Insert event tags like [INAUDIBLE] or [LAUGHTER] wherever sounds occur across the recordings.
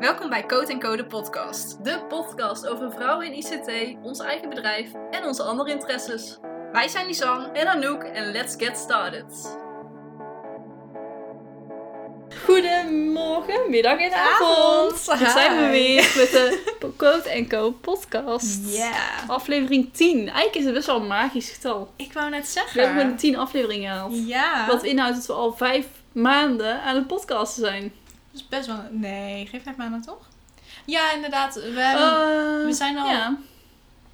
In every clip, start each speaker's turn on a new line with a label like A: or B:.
A: Welkom bij Code Co, de podcast.
B: De podcast over vrouwen in ICT, ons eigen bedrijf en onze andere interesses.
A: Wij zijn Lisanne.
B: En Anouk en let's get started. Goedemorgen, middag en avond.
A: Avond.
B: Daar zijn we
A: Hi.
B: weer met de [LAUGHS] Code Co podcast.
A: Ja.
B: Aflevering 10. Eigenlijk is het best wel een magisch getal.
A: Ik wou net
B: We
A: zeggen.
B: hebben gewoon 10 afleveringen gehaald.
A: Ja.
B: Wat inhoudt dat we al 5 maanden aan het podcasten zijn.
A: Dat is best wel... Nee, geef vijf maanden toch? Ja, inderdaad. We, hebben-
B: Eh,
A: we zijn al...
B: ja.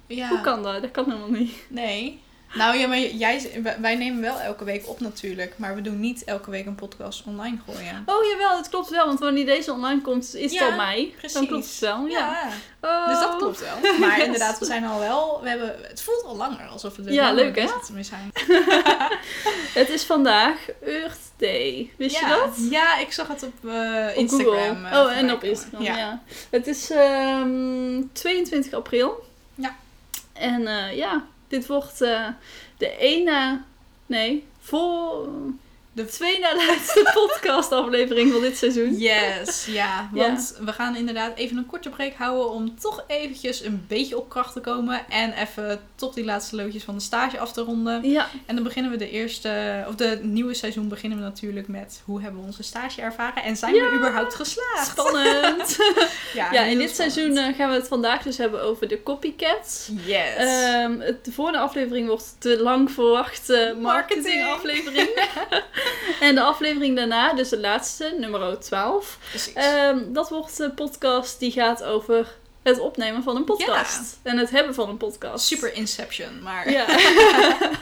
A: ja.
B: Hoe kan dat? Dat kan helemaal niet.
A: Nee. Nou ja, maar jij, wij- wij nemen wel elke week op natuurlijk. Maar we doen niet elke week een podcast online gooien.
B: Oh jawel, het klopt wel, want wanneer deze online komt, is het
A: Ja,
B: al mei. Dan
A: precies.
B: klopt het wel, ja.
A: Ja. Dus dat
B: Oh.
A: klopt wel. Maar
B: [LAUGHS] Yes.
A: inderdaad, we zijn al wel... We hebben, het voelt al langer alsof we er
B: Ja,
A: langer
B: leuk, hè?
A: bezig mee zijn.
B: Het is vandaag Earth Day. Wist
A: ja.
B: je dat?
A: Ja, ik zag het op eh,
B: Op
A: Instagram.
B: Google.
A: eh,
B: oh, en
A: voorbij
B: op
A: komen.
B: Instagram, ja.
A: Ja.
B: Het is ehm, 22 april.
A: Ja.
B: En eh, ja, dit wordt eh, de één na... Nee, voor... De
A: De-
B: twee na laatste [LAUGHS] podcastaflevering van dit seizoen.
A: Yes, ja.
B: Ja.
A: Want we gaan inderdaad even een korte break houden om toch eventjes een beetje op kracht te komen. En even tot die laatste loodjes van de stage af te ronden.
B: Ja,
A: En dan beginnen we de eerste, of de nieuwe seizoen beginnen we natuurlijk met hoe hebben we onze stage ervaren en zijn
B: Ja.
A: we überhaupt geslaagd?
B: spannend. ja, in
A: heel
B: dit
A: spannend.
B: seizoen eh, gaan we het vandaag dus hebben over de copycats.
A: Yes.
B: Ehm, het- de volgende aflevering wordt de lang verwachte marketingaflevering. [LAUGHS] en de aflevering daarna, dus de laatste, nummer 12.
A: Precies.
B: ehm, dat wordt de podcast die gaat over het opnemen van een podcast. En het hebben van een podcast.
A: Super Inception, maar...
B: Ja. [LAUGHS]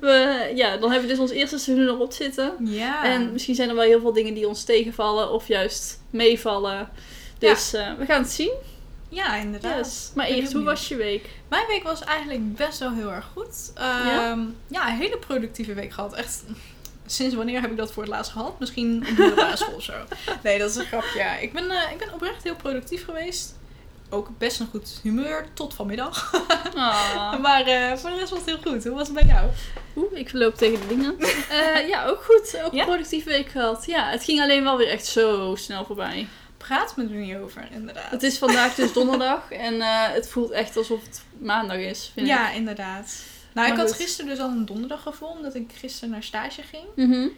B: We, ja, dan hebben we dus ons eerste seizoen erop zitten.
A: Ja.
B: En misschien zijn er wel heel veel dingen die ons tegenvallen of juist meevallen. Dus eh, we gaan het zien.
A: ja, inderdaad.
B: Yes. Maar
A: Ik ben
B: eerst,
A: heel
B: hoe was je week?
A: Mijn week was eigenlijk best wel heel erg goed. Ehm,
B: Ja?
A: ja? een hele productieve week gehad. Echt, sinds wanneer heb ik dat voor het laatst gehad? Misschien op de middelbare school of zo. [LAUGHS] Nee, dat is een grapje. Ja. Ik ben, eh, ik ben oprecht heel productief geweest. Ook best een goed humeur, tot vanmiddag.
B: Ah.
A: [LAUGHS] Maar eh, voor de rest was het heel goed. Hoe was het bij jou?
B: [LAUGHS] Oeh, ik loop tegen de
A: [LAUGHS]
B: dingen. Eh, ja, ook goed. Ook
A: Ja?
B: een productieve week gehad. Ja, het ging alleen wel weer echt zo snel voorbij.
A: Praat me er niet over, inderdaad.
B: Het is vandaag dus
A: [LAUGHS]
B: donderdag en eh, het voelt echt alsof het maandag is, vind ik.
A: ja, inderdaad. Nou,
B: Maar
A: ik had
B: goed.
A: gisteren dus al een donderdag gevoel, omdat ik gisteren naar stage ging.
B: Mhm.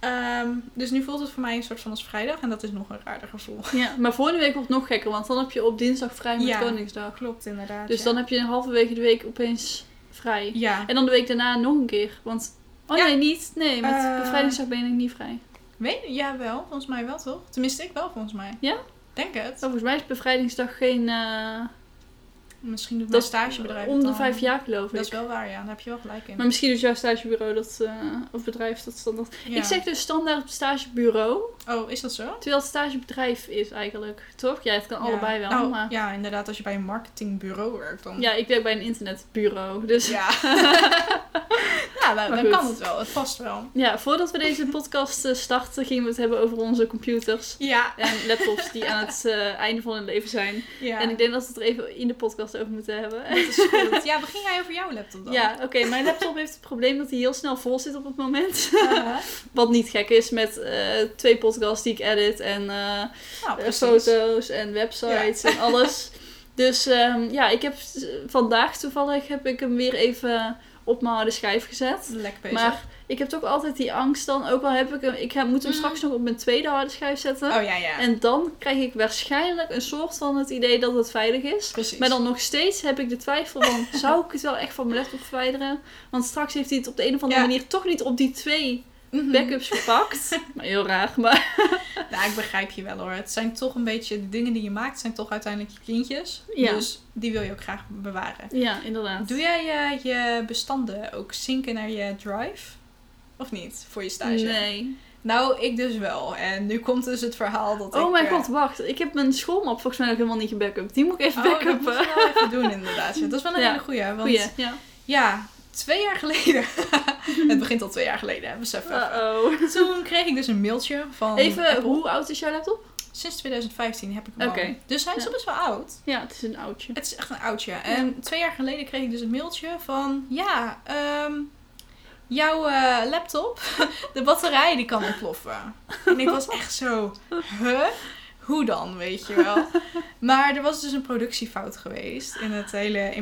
A: Ehm, dus nu voelt het voor mij een soort van als vrijdag en dat is nog een raarder gevoel.
B: ja. Maar volgende week wordt het nog gekker, want dan heb je op dinsdag vrij met
A: Ja.
B: Koningsdag.
A: Klopt, inderdaad.
B: Dus
A: ja.
B: dan heb je een halverwege de week opeens vrij.
A: Ja,
B: En dan de week daarna nog een keer, want... Oh
A: Ja.
B: nee, niet. Nee, met
A: Eh.
B: bevrijdingsdag ben ik niet vrij.
A: Weet, ja, wel. Volgens mij wel, toch? Tenminste, ik wel, volgens mij.
B: Ja?
A: Denk het.
B: Oh, volgens mij is bevrijdingsdag geen... eh,
A: Misschien doet
B: dat
A: mijn stagebedrijf
B: Om
A: het
B: de
A: dan.
B: vijf jaar geloof ik.
A: Dat is wel waar, ja. Daar heb je wel gelijk in.
B: Maar misschien dus jouw stagebureau dat, eh, of bedrijf dat standaard.
A: Ja.
B: Ik zeg dus standaard stagebureau,
A: Oh, is dat zo?
B: terwijl het stagebedrijf is eigenlijk, toch? Ja, het kan
A: Ja.
B: allebei wel,
A: Nou,
B: maar... Ja.
A: Ja, inderdaad. Als je bij een marketingbureau werkt, dan...
B: ik werk bij een internetbureau, dus... Ja. [LAUGHS]
A: Ja. ja,
B: Maar
A: nou, dan
B: goed.
A: kan het wel. Het past wel.
B: voordat we deze podcast eh, starten, gingen we het hebben over onze computers.
A: Ja.
B: En laptops die aan het eh, einde van hun leven zijn.
A: Ja.
B: En ik denk dat we het er even in de podcast over moeten hebben.
A: Dat is goed. Ja, begin jij over jouw laptop dan? [LAUGHS]
B: Ja, oké. mijn laptop heeft het probleem dat hij heel snel vol zit op het moment. [LAUGHS]
A: Eh,
B: Wat niet gek is met eh, twee podcasts die ik edit en... eh,
A: nou,
B: Eh,
A: precies.
B: foto's en websites en
A: [LAUGHS]
B: alles. Dus ehm, ja, ik heb s- vandaag toevallig heb ik hem weer even op mijn harde schijf gezet.
A: Lekker bezig.
B: Maar ik heb toch altijd die angst dan, ook al heb ik hem, ik ga, moet hem
A: Mm.
B: straks nog op mijn tweede harde schijf zetten.
A: Oh, ja, ja.
B: En dan krijg ik waarschijnlijk een soort van het idee dat het veilig is.
A: Precies.
B: Maar dan nog steeds heb ik de twijfel
A: [LAUGHS]
B: van, zou ik het wel echt van mijn laptop verwijderen? Want straks heeft hij het op de een of andere
A: Ja.
B: manier toch niet op die twee
A: Mhm.
B: backups
A: [LAUGHS]
B: gepakt. maar heel raar, maar
A: Nou, ik begrijp je wel hoor. Het zijn toch een beetje, de dingen die je maakt zijn toch uiteindelijk je kindjes.
B: Ja.
A: Dus die wil je ook graag bewaren.
B: ja, inderdaad.
A: Doe jij eh, je bestanden ook zinken naar je drive? Of niet? Voor je stage?
B: Nee.
A: Nou, ik dus wel. En nu komt dus het verhaal dat ik...
B: Oh mijn
A: eh,
B: god, wacht. Ik heb mijn schoolmap volgens mij nog helemaal niet gebackupt. Die moet ik [LAUGHS] even
A: Oh, dat moet
B: backuppen.
A: je wel even doen inderdaad. Dat is wel een
B: Ja.
A: hele goeie. Want
B: Goeie. Ja.
A: ja, twee jaar geleden. [LAUGHS] het begint al twee jaar geleden, hè, besef even.
B: Uh-oh.
A: Toen kreeg ik dus een mailtje van...
B: [LAUGHS] Even,
A: Apple.
B: hoe oud is jouw laptop?
A: Sinds 2015 heb ik hem
B: Oké.
A: al. Dus hij is
B: Ja.
A: al best wel oud.
B: Ja, het is een oudje.
A: Het is echt een oudje. En twee jaar geleden kreeg ik dus een mailtje van... Ja, ehm, jouw eh, [LAUGHS] laptop, de batterij die kan ontploffen. En ik was echt zo... Huh? hoe dan, weet je wel. maar er was dus een productiefout geweest in het hele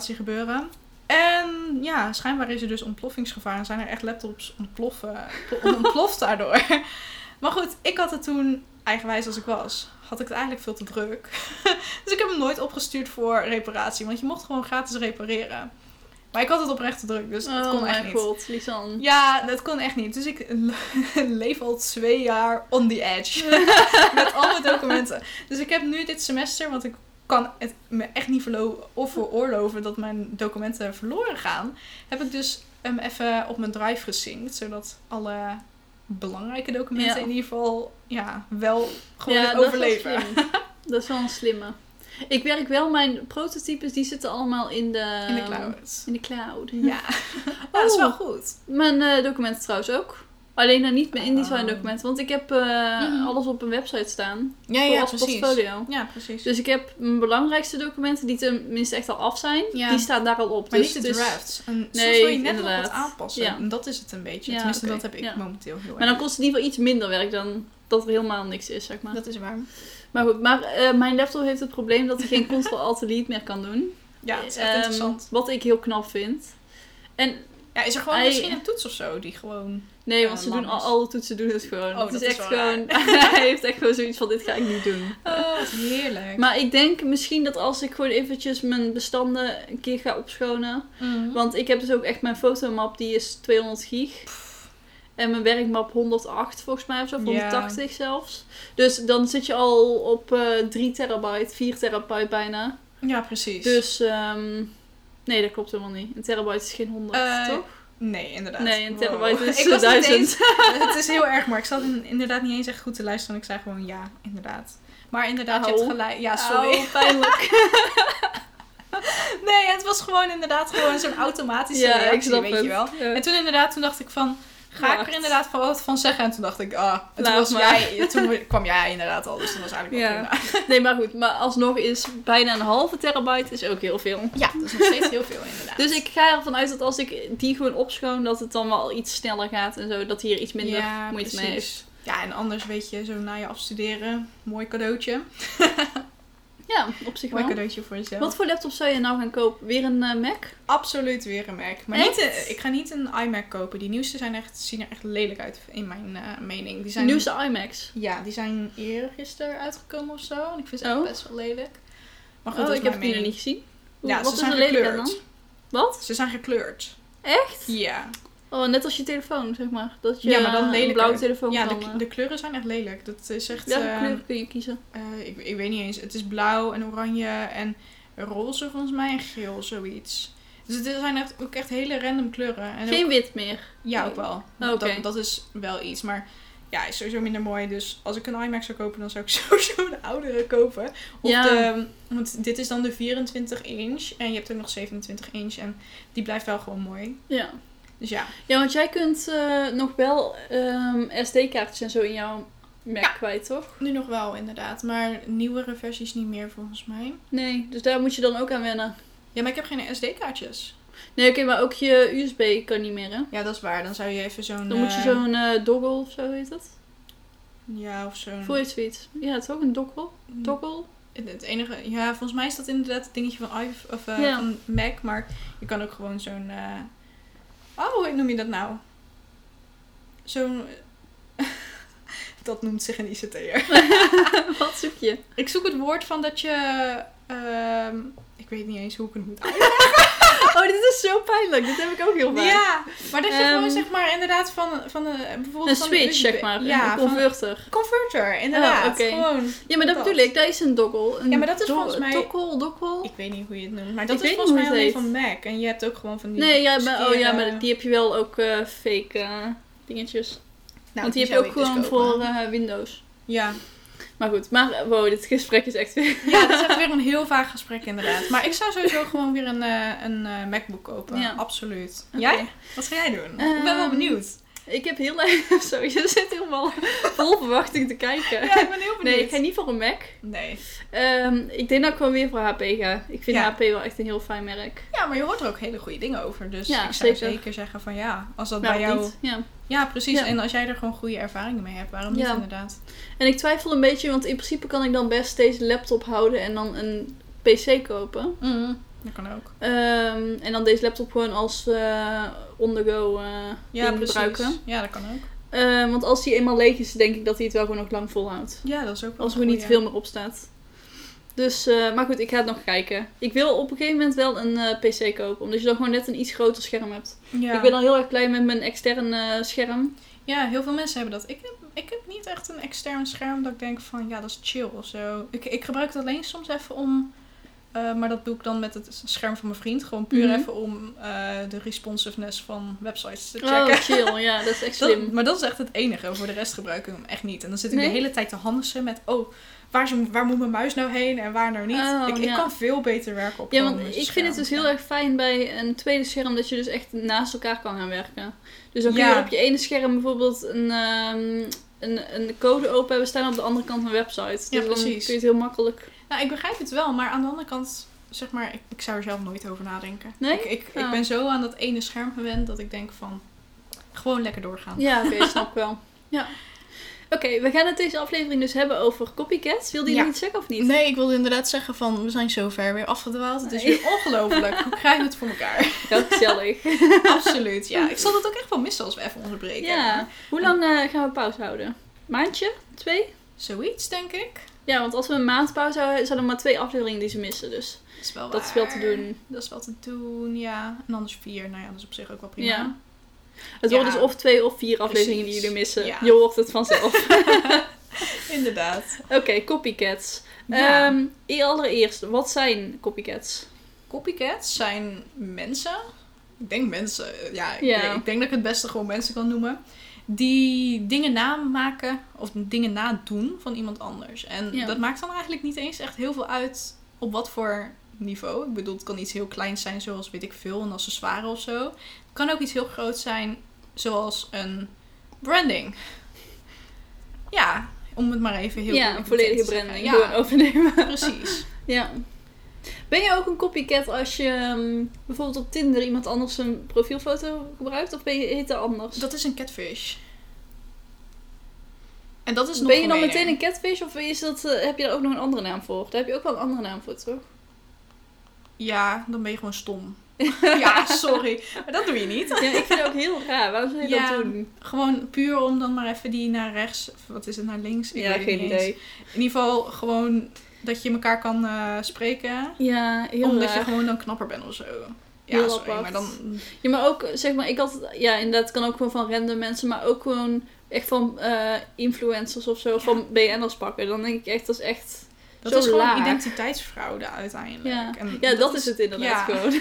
A: implementatiegebeuren. En ja, schijnbaar is er dus ontploffingsgevaar en zijn er echt laptops ontploffen, ontploft daardoor. [LAUGHS] maar goed, ik had het toen, eigenwijs als ik was, had ik het eigenlijk veel te druk. [LAUGHS] dus ik heb hem nooit opgestuurd voor reparatie, want je mocht gewoon gratis repareren. Maar ik had het oprecht te druk, dus het
B: oh
A: kon echt
B: mijn
A: niet.
B: god, Lisanne.
A: Ja, dat kon echt niet. Dus ik [LAUGHS] leef al twee jaar on the
B: [LAUGHS]
A: edge. Met al mijn documenten. Dus ik heb nu dit semester, want ik kan het me echt niet verlo- of veroorloven dat mijn documenten verloren gaan. Heb ik dus hem even op mijn drive gesynct. Zodat alle belangrijke documenten
B: Ja.
A: in ieder geval ja, wel gewoon
B: Ja,
A: overleven.
B: Dat is,
A: [LAUGHS]
B: wel slim. dat is wel een slimme. Ik werk wel, mijn prototypes die zitten allemaal in de...
A: in de
B: [LAUGHS]
A: cloud.
B: In de cloud.
A: Ja. Ja, dat is wel
B: Oh.
A: goed.
B: Mijn eh, documenten trouwens ook. Alleen dan niet mijn InDesign
A: Oh.
B: documenten, want ik heb eh,
A: Mhm.
B: alles op een website staan.
A: Ja,
B: voor als portfolio.
A: Ja, precies.
B: Dus ik heb mijn belangrijkste documenten, die tenminste echt al af zijn,
A: Ja.
B: die staan daar al op.
A: Maar
B: dus,
A: niet de
B: het is-
A: drafts. En soms
B: Nee,
A: wil je net nog wat
B: inderdaad.
A: aanpassen.
B: Ja.
A: En dat is het een beetje.
B: Ja,
A: Tenminste,
B: oké.
A: dat heb ik
B: Ja.
A: momenteel heel erg.
B: Maar dan kost het in ieder geval iets minder werk dan dat er helemaal niks is, zeg maar.
A: Dat is waar.
B: Maar goed, maar eh, mijn laptop heeft het probleem dat hij
A: [LAUGHS]
B: geen Ctrl-Alt-Delete meer kan doen.
A: Ja, het is echt
B: Ehm,
A: interessant.
B: Wat ik heel knap vind. En
A: Ja, is er gewoon
B: hij-
A: misschien een toets of zo die gewoon...
B: nee,
A: Ja,
B: want ze
A: lam
B: doen al,
A: is.
B: alle toetsen doen het gewoon.
A: Oh,
B: het is,
A: dat is
B: echt
A: wel
B: gewoon. [LAUGHS] hij heeft echt gewoon zoiets van: dit ga ik niet doen.
A: [LAUGHS] Oh, wat heerlijk.
B: Maar ik denk misschien dat als ik gewoon eventjes mijn bestanden een keer ga opschonen.
A: Mhm.
B: Want ik heb dus ook echt mijn fotomap, die is 200 gig. En mijn werkmap 108 volgens mij of zo, of
A: Ja.
B: 180 zelfs. Dus dan zit je al op eh 3 terabyte, 4 terabyte bijna.
A: Ja, precies.
B: Dus ehm, nee, dat klopt helemaal niet. Een terabyte is geen 100,
A: Eh,
B: toch?
A: Nee, inderdaad.
B: Nee, een
A: Wow. [LAUGHS]
B: terabyte is
A: Ik was niet
B: 1000.
A: eens- het is heel erg, maar ik zat in- inderdaad niet eens echt goed te luisteren. Ik zei gewoon ja, inderdaad. Maar inderdaad, je
B: Au.
A: hebt gelijk. Ja, Ah, sorry.
B: Au, Oh, pijnlijk.
A: [LAUGHS] Nee, het was gewoon inderdaad gewoon zo'n automatische
B: ja,
A: reactie,
B: ik snap
A: weet
B: het.
A: je wel.
B: Ja.
A: En toen inderdaad, toen dacht ik van, ga ik
B: Wacht.
A: er inderdaad van wat van zeggen? En toen dacht ik, ah, het
B: Laat
A: was
B: maar.
A: jij. Toen kwam jij inderdaad al, dus dat was eigenlijk wel
B: Ja.
A: prima.
B: Nee, maar goed. Maar alsnog is bijna een halve terabyte is ook heel veel.
A: Ja, dat is nog steeds heel veel inderdaad.
B: Dus ik ga ervan uit dat als ik die gewoon opschoon, dat het dan wel iets sneller gaat en zo. Dat hier iets minder
A: Ja,
B: moeite mee
A: precies.
B: heeft.
A: Ja, en anders weet je, zo na je afstuderen, mooi cadeautje.
B: Ja, op zich
A: Mooi
B: wel.
A: cadeautje voor jezelf.
B: Wat voor laptop zou je nou gaan kopen? Weer een eh, Mac?
A: Absoluut weer een Mac. Maar
B: Echt?
A: niet een- ik ga niet een iMac kopen. Die nieuwste zijn echt, zien er echt lelijk uit, in mijn eh, mening. Die
B: De
A: zijn,
B: nieuwste iMacs.
A: Ja, die zijn eergisteren uitgekomen of zo. En ik vind ze echt
B: Oh.
A: best wel lelijk. Maar goed,
B: Oh,
A: dat is
B: ik heb
A: mijn
B: die nog
A: mening.
B: niet gezien. Hoe-
A: Ja,
B: Wat
A: ze
B: is
A: zijn
B: er lelijk aan
A: gekleurd.
B: dan? Wat?
A: Ze zijn gekleurd.
B: Echt?
A: Ja.
B: Oh, net als je telefoon, zeg maar. Dat je
A: Ja, maar dan
B: eh, een
A: lelijker.
B: blauwe telefoon
A: Ja,
B: kan...
A: de,
B: eh,
A: de kleuren zijn echt lelijk. Dat is echt...
B: welke
A: eh,
B: kleur kun je kiezen?
A: eh, ik, ik weet niet eens. Het is blauw en oranje en roze volgens mij en geel, zoiets. Dus het zijn echt, ook echt hele random kleuren. En
B: Geen
A: ook-
B: wit meer.
A: ja, ook wel.
B: Oh, oké.
A: dat, dat is wel iets, maar... Ja, is sowieso minder mooi. Dus als ik een iMac zou kopen, dan zou ik [LAUGHS] sowieso de oudere kopen. Of
B: Ja.
A: de, want dit is dan de 24 inch. En je hebt ook nog 27 inch. En die blijft wel gewoon mooi.
B: Ja.
A: Dus ja,
B: Ja, want jij kunt eh, nog wel ehm, SD-kaartjes en zo in jouw Mac
A: Ja.
B: kwijt, toch?
A: nu nog wel inderdaad. Maar nieuwere versies niet meer volgens mij.
B: Nee, dus daar moet je dan ook aan wennen.
A: Ja, maar ik heb geen SD-kaartjes.
B: Nee, oké, maar ook je USB kan niet meer, hè?
A: Ja, dat is waar. Dan zou je even zo'n...
B: Dan moet je
A: eh,
B: zo'n eh, doggle of zo heet dat.
A: Ja, of zo'n...
B: Voor je zoiets. Ja, het is ook een doggle.
A: Mm.
B: Doggle? [LAUGHS]
A: Het, het enige... Ja, volgens mij is dat inderdaad het dingetje van, iPhone, of, eh,
B: Ja.
A: van Mac. Maar je kan ook gewoon zo'n... eh, Oh, hoe noem je dat nou? Zo'n... [LAUGHS] dat noemt zich een ICT'er.
B: Wat zoek je?
A: ik zoek het woord van dat je... ehm, ik weet niet eens hoe ik het moet
B: Oh, dit is zo pijnlijk. Dit heb ik ook heel vaak.
A: Ja, maar dat je
B: Ehm,
A: gewoon zeg maar inderdaad van, van een, bijvoorbeeld
B: Een
A: van
B: switch,
A: USB
B: zeg maar.
A: Ja,
B: een
A: van-
B: converter.
A: converter, inderdaad.
B: Oh, oké.
A: Gewoon.
B: Ja, maar dat,
A: Dat.
B: bedoel ik. Dat is een doggle. Een
A: Ja, maar dat is
B: do-
A: volgens mij-
B: Doggle, doggle.
A: Ik weet niet hoe je het noemt, maar dat
B: Oh. Ik weet
A: is
B: niet
A: volgens mij
B: hoe
A: alleen
B: het
A: van Mac. En je hebt ook gewoon van die...
B: Nee, ja, maar, oh ja,
A: skeren-
B: maar die heb je wel ook eh, fake eh, dingetjes.
A: Nou,
B: Want die, heb
A: zou
B: je ook
A: ik dus
B: gewoon voor
A: kopen.
B: eh, Windows.
A: Ja.
B: Maar goed, maar eh, wow, dit gesprek is echt weer...
A: ja, dat is echt weer een heel vaag gesprek inderdaad. Maar ik zou sowieso gewoon weer een, eh, een eh, MacBook kopen.
B: Ja.
A: Absoluut.
B: Oké.
A: Jij? Wat ga jij doen? ik ben wel
B: Ehm, [LAUGHS]
A: benieuwd.
B: [LAUGHS] Ik heb heel erg... Sorry, je zit helemaal vol verwachting te kijken.
A: Ja, ik ben heel benieuwd.
B: nee, ik ga niet voor een Mac.
A: Nee.
B: Ehm, ik denk dat ik gewoon weer voor HP ga. Ik vind
A: Ja.
B: HP wel echt een heel fijn merk.
A: Ja, maar je hoort er ook hele goede dingen over. Dus
B: Ja,
A: ik zou
B: zeker.
A: zeker zeggen van ja, als dat
B: Nou,
A: bij jou...
B: niet. Ja.
A: Ja, precies.
B: Ja.
A: En als jij er gewoon goede ervaringen mee hebt, waarom niet
B: Ja.
A: inderdaad?
B: En ik twijfel een beetje, want in principe kan ik dan best deze laptop houden en dan een PC kopen.
A: Mm, dat kan ook.
B: Ehm, en dan deze laptop gewoon als eh on the go eh,
A: Ja,
B: ding
A: precies.
B: gebruiken.
A: Ja, dat kan ook.
B: Ehm, want als die eenmaal leeg is, denk ik dat hij het wel gewoon nog lang volhoudt.
A: Oh, Ja, dat is ook wel
B: Als er
A: een
B: niet
A: goeie.
B: veel meer op staat. Dus, eh, maar goed, ik ga het nog kijken. Ik wil op een gegeven moment wel een eh, PC kopen, omdat je dan gewoon net een iets groter scherm hebt.
A: Ja.
B: Ik ben al heel erg blij met mijn extern eh, scherm.
A: ja, heel veel mensen hebben dat. Ik heb, ik heb niet echt een extern scherm dat ik denk van, ja, dat is chill of zo. Ik, ik gebruik het alleen soms even om... eh, maar dat doe ik dan met het scherm van mijn vriend. Gewoon puur
B: Mhm.
A: even om eh, de responsiveness van websites te checken.
B: Oh, chill. Ja, dat is echt
A: [LAUGHS] Dat-
B: slim.
A: maar dat is echt het enige. Voor de rest gebruik ik hem echt niet. En dan zit ik
B: Nee?
A: de hele tijd te handelen met... Oh, waar, is, waar moet mijn muis nou heen en waar nou niet?
B: Oh,
A: ik, ik
B: ja.
A: kan veel beter werken op
B: Ja,
A: gewoon
B: want
A: met
B: ik
A: een
B: vind
A: scherm.
B: het dus heel erg fijn bij een tweede scherm dat je dus echt naast elkaar kan gaan werken. Dus dan kun
A: Ja.
B: je op je ene scherm bijvoorbeeld een, ehm, een, een code open hebben staan op de andere kant van een website.
A: Ja,
B: dus dan kun
A: precies.
B: je het heel makkelijk.
A: Nou, ik begrijp het wel. Maar aan de andere kant... Zeg maar, ik, ik zou er zelf nooit over nadenken.
B: Nee?
A: Ik, ik, ik
B: Oh.
A: ben zo aan dat ene scherm gewend dat ik denk van... Gewoon lekker doorgaan.
B: Ja, oké, snap ik wel. Ja. Oké, we gaan het deze aflevering dus hebben over copycats. Wilde je
A: Ja.
B: nog iets zeggen of niet?
A: Nee, ik wilde inderdaad zeggen van... We zijn zo ver weer afgedwaald. Het is
B: Nee.
A: weer
B: [LAUGHS]
A: ongelooflijk. Hoe krijgen we het voor elkaar?
B: Heel
A: [LAUGHS]
B: gezellig.
A: Absoluut, ja. Ik zal het ook echt wel missen als we even onderbreken.
B: ja. Hoe lang eh, gaan we pauze houden? Maandje? Twee?
A: Zoiets, denk ik.
B: Ja, want als we een maand pauze houden, zijn er maar twee afleveringen die ze missen. Dus
A: Dat is wel
B: dat is wel te
A: waar.
B: doen.
A: Dat is wel te doen, ja. En anders vier, nou ja, dat is op zich ook wel prima.
B: Ja. Het
A: Ja.
B: worden dus of twee of vier afleveringen
A: Precies.
B: die jullie missen.
A: Ja.
B: Je hoort het vanzelf.
A: [LAUGHS] Inderdaad.
B: Oké, copycats.
A: Ja.
B: Ehm, e- allereerst, wat zijn copycats?
A: Copycats zijn mensen. Ik denk mensen. eh, Ja, ik,
B: Ja.
A: weet- ik denk dat ik het beste gewoon mensen kan noemen. Die dingen namaken of dingen nadoen van iemand anders. En
B: Ja.
A: dat maakt dan eigenlijk niet eens echt heel veel uit op wat voor niveau. Ik bedoel, het kan iets heel kleins zijn, zoals weet ik veel, een accessoire of zo. Het kan ook iets heel groots zijn, zoals een branding. Ja, om het maar even heel
B: ja,
A: goed
B: een volledige
A: te zeggen.
B: branding.
A: Ja,
B: Gewoon overnemen. [LAUGHS]
A: precies.
B: ja. Ben je ook een copycat als je ehm, bijvoorbeeld op Tinder iemand anders een profielfoto gebruikt? Of ben je heet dat anders?
A: Dat is een catfish. En dat is nog
B: ben je dan
A: gemener.
B: meteen een catfish of is dat, eh, heb je daar ook nog een andere naam voor? Daar heb je ook wel een andere naam voor,
A: [LAUGHS]
B: toch?
A: Ja, dan ben je gewoon
B: [LAUGHS]
A: stom. ja, sorry. Maar dat doe je niet.
B: Ja, ik vind het ook heel raar. Waarom zou je
A: Ja.
B: dat doen?
A: Gewoon puur om dan maar even die naar rechts... Of wat is het, naar links? Ik
B: ja,
A: weet het
B: geen
A: niet
B: idee.
A: eens. In ieder geval gewoon dat je elkaar kan eh, spreken.
B: Ja, heel
A: omdat
B: raar.
A: je gewoon dan knapper bent of zo. Ja,
B: Heel
A: sorry.
B: apart.
A: Maar dan...
B: Ja, maar ook, zeg maar, ik had, ja, inderdaad, het kan ook gewoon van random mensen, maar ook gewoon echt van eh, influencers of zo, van BN'ers pakken. Dan denk ik echt, dat is echt,
A: Dat
B: Zo
A: is gewoon
B: laag.
A: identiteitsfraude uiteindelijk.
B: ja,
A: En
B: ja dat, is het inderdaad
A: ja. [LAUGHS]
B: gewoon.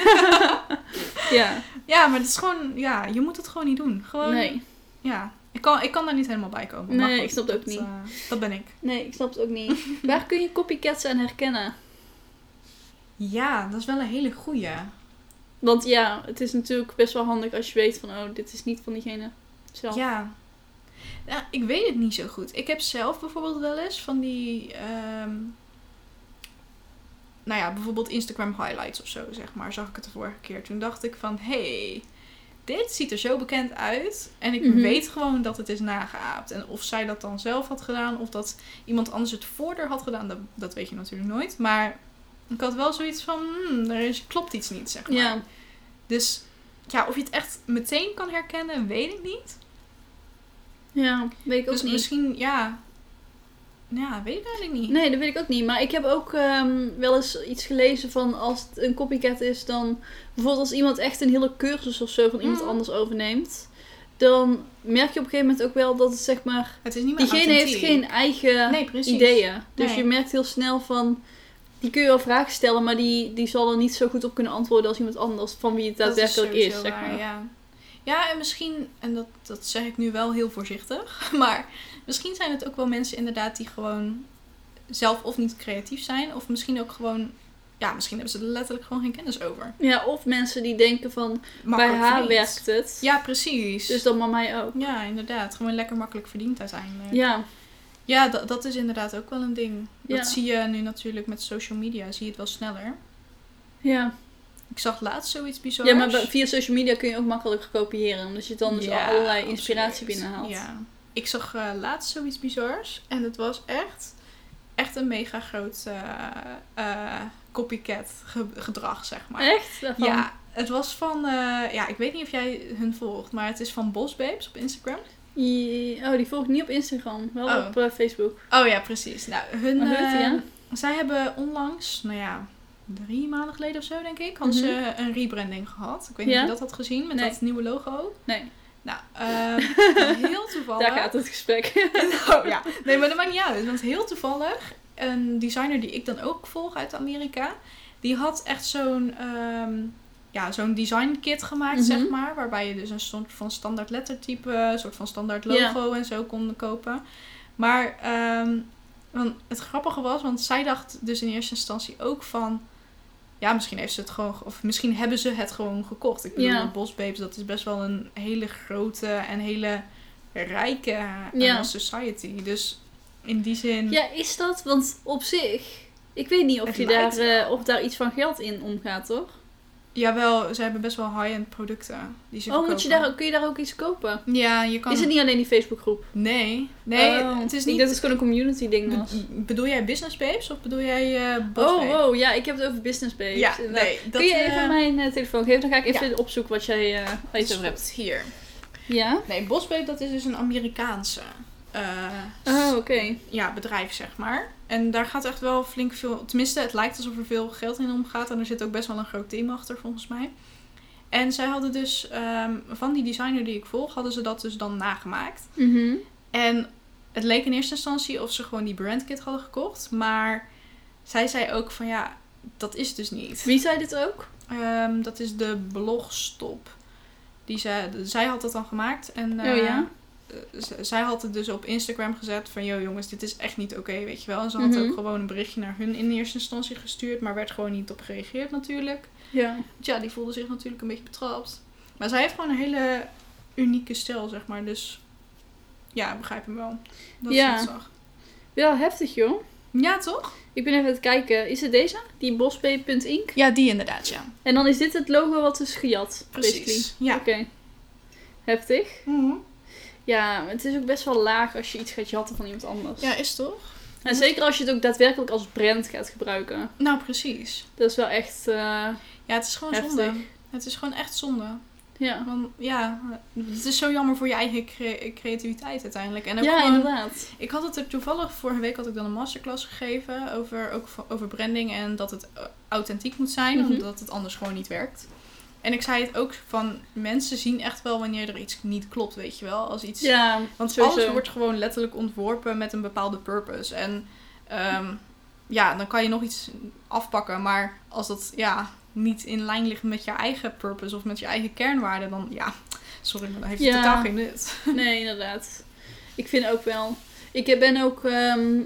B: ja,
A: Ja, maar het is gewoon... Ja, je moet het gewoon niet doen. Gewoon...
B: nee.
A: Ja. Ik kan, ik kan daar niet helemaal bij komen.
B: Nee,
A: goed,
B: ik snap het ook
A: dat,
B: niet.
A: eh, dat ben ik.
B: Nee, ik snap het ook niet. [LAUGHS] Waar kun je copycats aan herkennen?
A: Ja, dat is wel een hele goeie.
B: Want ja, het is natuurlijk best wel handig als je weet van, oh, dit is niet van diegene zelf.
A: Ja. Ja, ik weet het niet zo goed. Ik heb zelf bijvoorbeeld wel eens van die. ehm, nou ja, bijvoorbeeld Instagram highlights of zo, zeg maar. Zag ik het de vorige keer. Toen dacht ik van: hey, dit ziet er zo bekend uit. En ik
B: Mhm.
A: weet gewoon dat het is nageaapt. En of zij dat dan zelf had gedaan, of dat iemand anders het voorder had gedaan, dat, dat weet je natuurlijk nooit. Maar ik had wel zoiets van: hmm, er is, klopt iets niet, zeg maar.
B: Ja,
A: Dus ja, of je het echt meteen kan herkennen, weet ik niet.
B: ja, weet ik ook
A: Dus
B: niet.
A: misschien, ja. Ja, weet ik eigenlijk niet.
B: Nee, dat weet ik ook niet. Maar ik heb ook ehm, wel eens iets gelezen van als het een copycat is, dan bijvoorbeeld als iemand echt een hele cursus of zo van iemand
A: Mhm.
B: anders overneemt, dan merk je op een gegeven moment ook wel dat het zeg maar.
A: Het is niet meer
B: Diegene heeft
A: authentiek.
B: geen eigen
A: nee, precies.
B: ideeën. Dus
A: Nee.
B: je merkt heel snel van. Die kun je wel vragen stellen, maar die, die zal er niet zo goed op kunnen antwoorden als iemand anders van wie het
A: Dat
B: daadwerkelijk is.
A: sowieso
B: zeg
A: waar,
B: maar.
A: ja. ja, en misschien, en dat, dat zeg ik nu wel heel voorzichtig, [LAUGHS] maar misschien zijn het ook wel mensen inderdaad die gewoon zelf of niet creatief zijn, of misschien ook gewoon, ja, misschien hebben ze er letterlijk gewoon geen kennis over.
B: Ja, of mensen die denken van bij
A: Makkelijk
B: haar
A: verdiend.
B: werkt het,
A: Ja, precies.
B: dus dan maar mij ook.
A: Ja, inderdaad. Gewoon lekker makkelijk verdiend uiteindelijk.
B: Ja,
A: Ja, dat, dat is inderdaad ook wel een ding.
B: Ja.
A: Dat zie je nu natuurlijk met social media, zie je het wel sneller.
B: ja.
A: Ik zag laatst zoiets bizar.
B: Ja, maar bij- via social media kun je ook makkelijk kopiëren. Omdat je dan dus al allerlei inspiratie binnenhaalt.
A: Ja. Ik zag eh, laatst zoiets bizars. En het was echt, echt een mega groot eh, eh, copycat ge- gedrag, zeg maar.
B: Echt? Daarvan?
A: Ja, het was van... eh, ja, ik weet niet of jij hun volgt, maar het is van Bosbabes op Instagram.
B: I- Oh, die volg ik niet op Instagram. Wel
A: Oh.
B: op eh, Facebook.
A: Oh ja, precies. Nou, hun...
B: Maar goed,
A: eh,
B: ja.
A: Zij hebben onlangs, nou ja, drie maanden geleden of zo, denk ik, hadden
B: Mhm.
A: ze een rebranding gehad. Ik weet
B: Ja.
A: niet of je dat had gezien, met
B: Nee.
A: dat nieuwe logo.
B: Nee,
A: Nou,
B: [LAUGHS]
A: eh, heel toevallig...
B: daar gaat het gesprek.
A: [LAUGHS]
B: [LAUGHS]
A: Oh, ja. Nee, maar dat maakt niet uit. Want heel toevallig, een designer die ik dan ook volg uit Amerika, die had echt zo'n ehm, ja, zo'n design kit gemaakt,
B: Mhm.
A: zeg maar. Waarbij je dus een soort van standaard lettertype, een soort van standaard logo en zo kon kopen. Maar ehm, want het grappige was, want zij dacht dus in eerste instantie ook van. Ja, misschien heeft ze het gewoon. Of misschien hebben ze het gewoon gekocht. Ik bedoel,
B: Ja.
A: want Bosbabes, dat is best wel een hele grote en hele rijke eh,
B: Ja.
A: society. Dus in die zin.
B: Ja, is dat? Want op zich, ik weet niet of,
A: Het
B: je daar,
A: lijkt
B: eh, of daar iets van geld in omgaat, toch?
A: Jawel, ze hebben best wel high-end producten. Die ze
B: Oh, moet je
A: verkopen.
B: daar, ook- kun je daar ook iets kopen?
A: Ja, je kan.
B: Is het niet alleen die Facebookgroep?
A: Nee, nee
B: Oh,
A: het is
B: Ik
A: niet.
B: dacht dat het gewoon een community ding
A: [LAUGHS]
B: was.
A: Be- bedoel jij business babes of bedoel jij eh Bosbabes?
B: Oh, wow, ja, ik heb het over business page.
A: Ja, nee. Dat,
B: Kun je
A: eh,
B: even mijn eh, telefoon geven? Dan ga ik even opzoeken wat jij eh waar je
A: is
B: het over hebt.
A: goed. Hier.
B: Ja?
A: Nee, Bosbeep, dat is dus een Amerikaanse eh,
B: Oh, oké.
A: ja, bedrijf, zeg maar. En daar gaat echt wel flink veel... Tenminste, het lijkt alsof er veel geld in omgaat. En er zit ook best wel een groot team achter, volgens mij. En zij hadden dus... ehm, van die designer die ik volg, hadden ze dat dus dan nagemaakt.
B: Mhm.
A: En het leek in eerste instantie of ze gewoon die brandkit hadden gekocht. Maar zij zei ook van, ja, dat is het dus niet.
B: Wie zei dit ook?
A: Ehm, dat is de blogstop. Die zij, zij had dat dan gemaakt. En,
B: oh
A: eh,
B: ja?
A: eh, z- zij had het dus op Instagram gezet van... ...joh jongens, dit is echt niet oké, weet je wel. En ze had
B: Mhm.
A: ook gewoon een berichtje naar hun in eerste instantie gestuurd... ...maar werd gewoon niet op gereageerd natuurlijk.
B: Ja.
A: Want ja, die voelde zich natuurlijk een beetje betrapt. Maar zij heeft gewoon een hele unieke stijl, zeg maar. Dus ja, ik begrijp hem wel. Dat
B: Ja.
A: ze het zag.
B: Wel heftig, joh.
A: Ja, toch?
B: Ik ben even aan het kijken. Is het deze? Die bosbee.inc?
A: Ja, die inderdaad, ja.
B: En dan is dit het logo wat is gejat. basically.
A: Precies. Ja.
B: Oké. Heftig.
A: Mhm.
B: Ja, maar het is ook best wel laag als je iets gaat jatten van iemand anders.
A: Ja, is toch?
B: En zeker als je het ook daadwerkelijk als brand gaat gebruiken.
A: Nou, precies.
B: Dat is wel echt... eh,
A: Ja, het is gewoon
B: Heftig.
A: zonde. Het is gewoon echt zonde.
B: ja.
A: Want ja, het is zo jammer voor je eigen cre- creativiteit uiteindelijk. En ook
B: ja,
A: gewoon,
B: inderdaad.
A: Ik had het er toevallig vorige week had ik dan een masterclass gegeven over, ook vo- over branding en dat het eh, authentiek moet zijn,
B: Mhm.
A: omdat het anders gewoon niet werkt. En ik zei het ook van mensen zien echt wel wanneer er iets niet klopt, weet je wel. Als iets,
B: Ja,
A: want
B: sowieso.
A: alles wordt gewoon letterlijk ontworpen met een bepaalde purpose. En ehm, ja, dan kan je nog iets afpakken, maar als dat ja, niet in lijn ligt met je eigen purpose of met je eigen kernwaarden, dan ja, sorry, maar dan heeft het
B: Ja.
A: totaal geen nut.
B: Nee, inderdaad. Ik vind ook wel. Ik ben ook. ehm,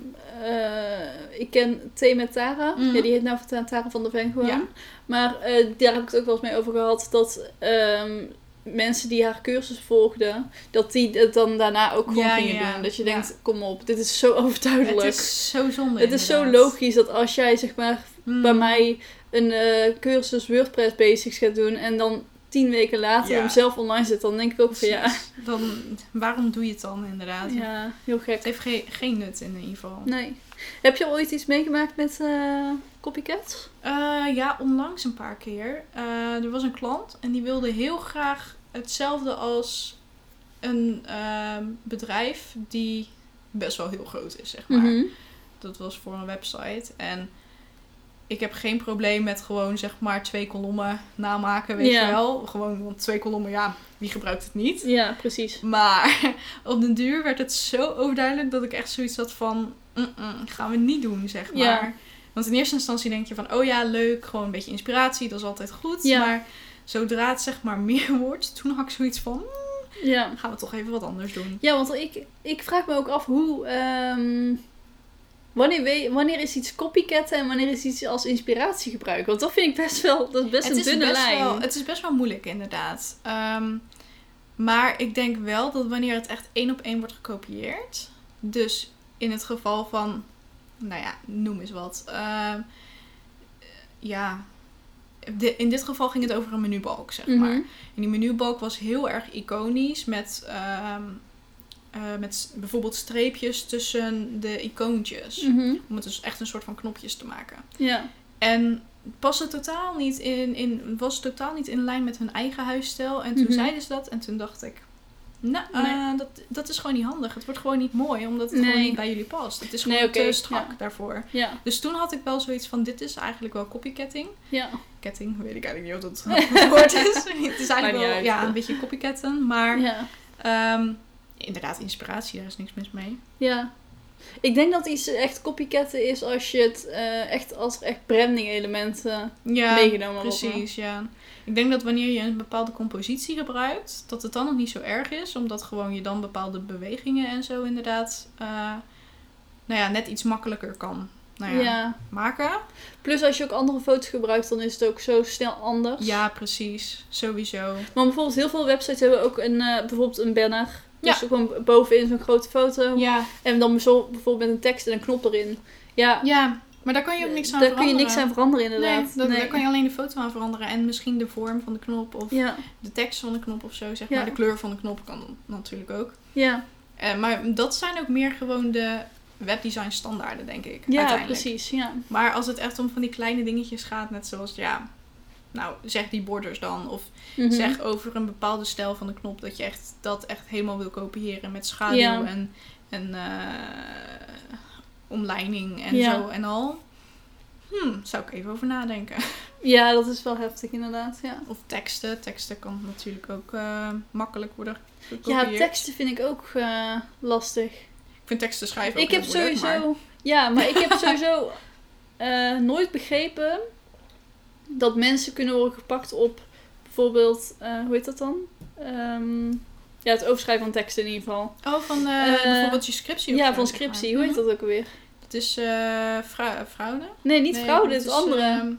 B: eh, ik ken Thee met Tara.
A: Mhm.
B: Ja, die heet nou van Tara van de Ven gewoon.
A: Ja.
B: Maar eh, daar heb ik het ook wel eens mee over gehad. Dat ehm, mensen die haar cursus volgden, dat die het dan daarna ook gewoon
A: Ja,
B: gingen
A: ja,
B: doen. Dat je
A: ja.
B: denkt, kom op, dit is zo [LAUGHS] overduidelijk.
A: Het is zo zonde.
B: Het is zo
A: inderdaad.
B: logisch dat als jij zeg maar
A: Mm.
B: bij mij een eh, cursus WordPress basics gaat doen en dan tien weken later
A: Ja.
B: hem zelf online zet, dan denk ik ook van ja.
A: Precies. Dan, waarom doe je het dan inderdaad?
B: Ja, heel gek.
A: Het heeft geen, geen nut in ieder geval.
B: Nee. Heb je ooit iets meegemaakt met eh copycats?
A: Eh, ja, onlangs een paar keer. Eh, er was een klant en die wilde heel graag hetzelfde als een ehm, bedrijf die best wel heel groot is, zeg maar.
B: Mhm.
A: Dat was voor een website. En ik heb geen probleem met gewoon zeg maar twee kolommen namaken, weet
B: Ja.
A: je wel. Gewoon, want twee kolommen, ja, wie gebruikt het niet?
B: Ja, precies.
A: Maar [LAUGHS] op den duur werd het zo overduidelijk dat ik echt zoiets had van... "Mm-mm, gaan we niet doen, zeg maar.
B: Ja.
A: Want in eerste instantie denk je van... Oh ja, leuk, gewoon een beetje inspiratie, dat is altijd goed.
B: Ja.
A: Maar zodra het zeg maar [LAUGHS] meer wordt, toen had ik zoiets van... "Mm,
B: Ja,
A: Gaan we toch even wat anders doen.
B: ja want ik, ik vraag me ook af hoe. ehm, wanneer, we- wanneer is iets copycatten en wanneer is iets als inspiratie gebruiken? Want dat vind ik best wel. Dat is best een dunne
A: best
B: lijn.
A: Wel, het is best wel moeilijk, inderdaad. Ehm, maar ik denk wel dat wanneer het echt één op één wordt gekopieerd... Dus in het geval van... Nou ja, noem eens wat. ehm, ja, de- in dit geval ging het over een menubalk, zeg maar.
B: Mhm.
A: En die menubalk was heel erg iconisch met, ehm, eh, met s- bijvoorbeeld streepjes tussen de icoontjes.
B: Mhm.
A: Om het dus echt een soort van knopjes te maken.
B: Ja.
A: En paste totaal niet in, in, was totaal niet in lijn met hun eigen huisstijl. En toen
B: Mhm.
A: zeiden ze dat en toen dacht ik... Nou, eh,
B: Nee.
A: dat, dat is gewoon niet handig. Het wordt gewoon niet mooi, omdat het
B: Nee.
A: gewoon niet bij jullie past. Het is
B: Nee,
A: gewoon
B: oké,
A: te strak
B: ja.
A: daarvoor.
B: Ja.
A: Dus toen had ik wel zoiets van, dit is eigenlijk wel copycatting.
B: Ja.
A: Ketting, weet ik eigenlijk niet wat
B: [LAUGHS]
A: dat het woord is. Het is
B: Maakt
A: eigenlijk
B: niet
A: wel
B: uit.
A: ja, een beetje copycatten, maar
B: Ja.
A: ehm, inderdaad, inspiratie, daar is niks mis mee.
B: Ja. Ik denk dat iets echt copycatten is als je het eh, echt als er echt branding elementen
A: Ja,
B: meegenomen wordt.
A: precies. Ja. Ik denk dat wanneer je een bepaalde compositie gebruikt, dat het dan nog niet zo erg is, omdat gewoon je dan bepaalde bewegingen en zo inderdaad eh, nou ja, net iets makkelijker kan nou ja,
B: ja.
A: maken.
B: Plus als je ook andere foto's gebruikt, dan is het ook zo snel anders.
A: Ja, precies. Sowieso.
B: Maar bijvoorbeeld heel veel websites hebben ook een, eh, bijvoorbeeld een banner. Dus
A: Ja.
B: gewoon bovenin zo'n grote foto.
A: Ja,
B: En dan zo bijvoorbeeld met een tekst en een knop erin. Ja,
A: ja. maar daar kan je ook niks aan
B: daar
A: veranderen.
B: kun je niks aan veranderen
A: Nee,
B: inderdaad.
A: dat- daar kan je alleen de foto aan veranderen en misschien de vorm van de knop of
B: Ja,
A: de tekst van de knop of zo, zeg
B: Ja.
A: maar. De kleur van de knop kan natuurlijk ook.
B: ja,
A: Eh, maar dat zijn ook meer gewoon de webdesign standaarden, denk ik.
B: ja
A: uiteindelijk.
B: precies. Ja.
A: Maar als het echt om van die kleine dingetjes gaat, net zoals, ja, nou, zeg die borders dan. Of
B: Mhm.
A: zeg over een bepaalde stijl van de knop dat je echt, dat echt helemaal wil kopiëren met schaduw
B: Ja.
A: en, en eh, omlijning en
B: Ja.
A: zo en al. Hmm, zou ik even over nadenken. [LAUGHS]
B: Ja, dat is wel heftig inderdaad. Ja.
A: Of teksten. Teksten kan natuurlijk ook eh, makkelijk worden
B: Ja,
A: gekopieerd.
B: teksten vind ik ook eh, lastig.
A: Ik vind teksten schrijven ook
B: Ik heb
A: heel moeilijk,
B: sowieso.
A: maar-
B: Ja, maar ik
A: [LAUGHS]
B: heb sowieso eh, nooit begrepen dat mensen kunnen worden gepakt op bijvoorbeeld. eh, hoe heet dat dan? Ehm, ja, het overschrijven van teksten in ieder geval.
A: Oh, van eh,
B: Eh,
A: bijvoorbeeld je scriptie. of
B: ja,
A: zo,
B: van
A: zeg maar.
B: scriptie. Hoe heet dat ook alweer?
A: Het is eh fra- fraude.
B: Nee, niet
A: Nee,
B: fraude,
A: dat
B: het andere.
A: ehm,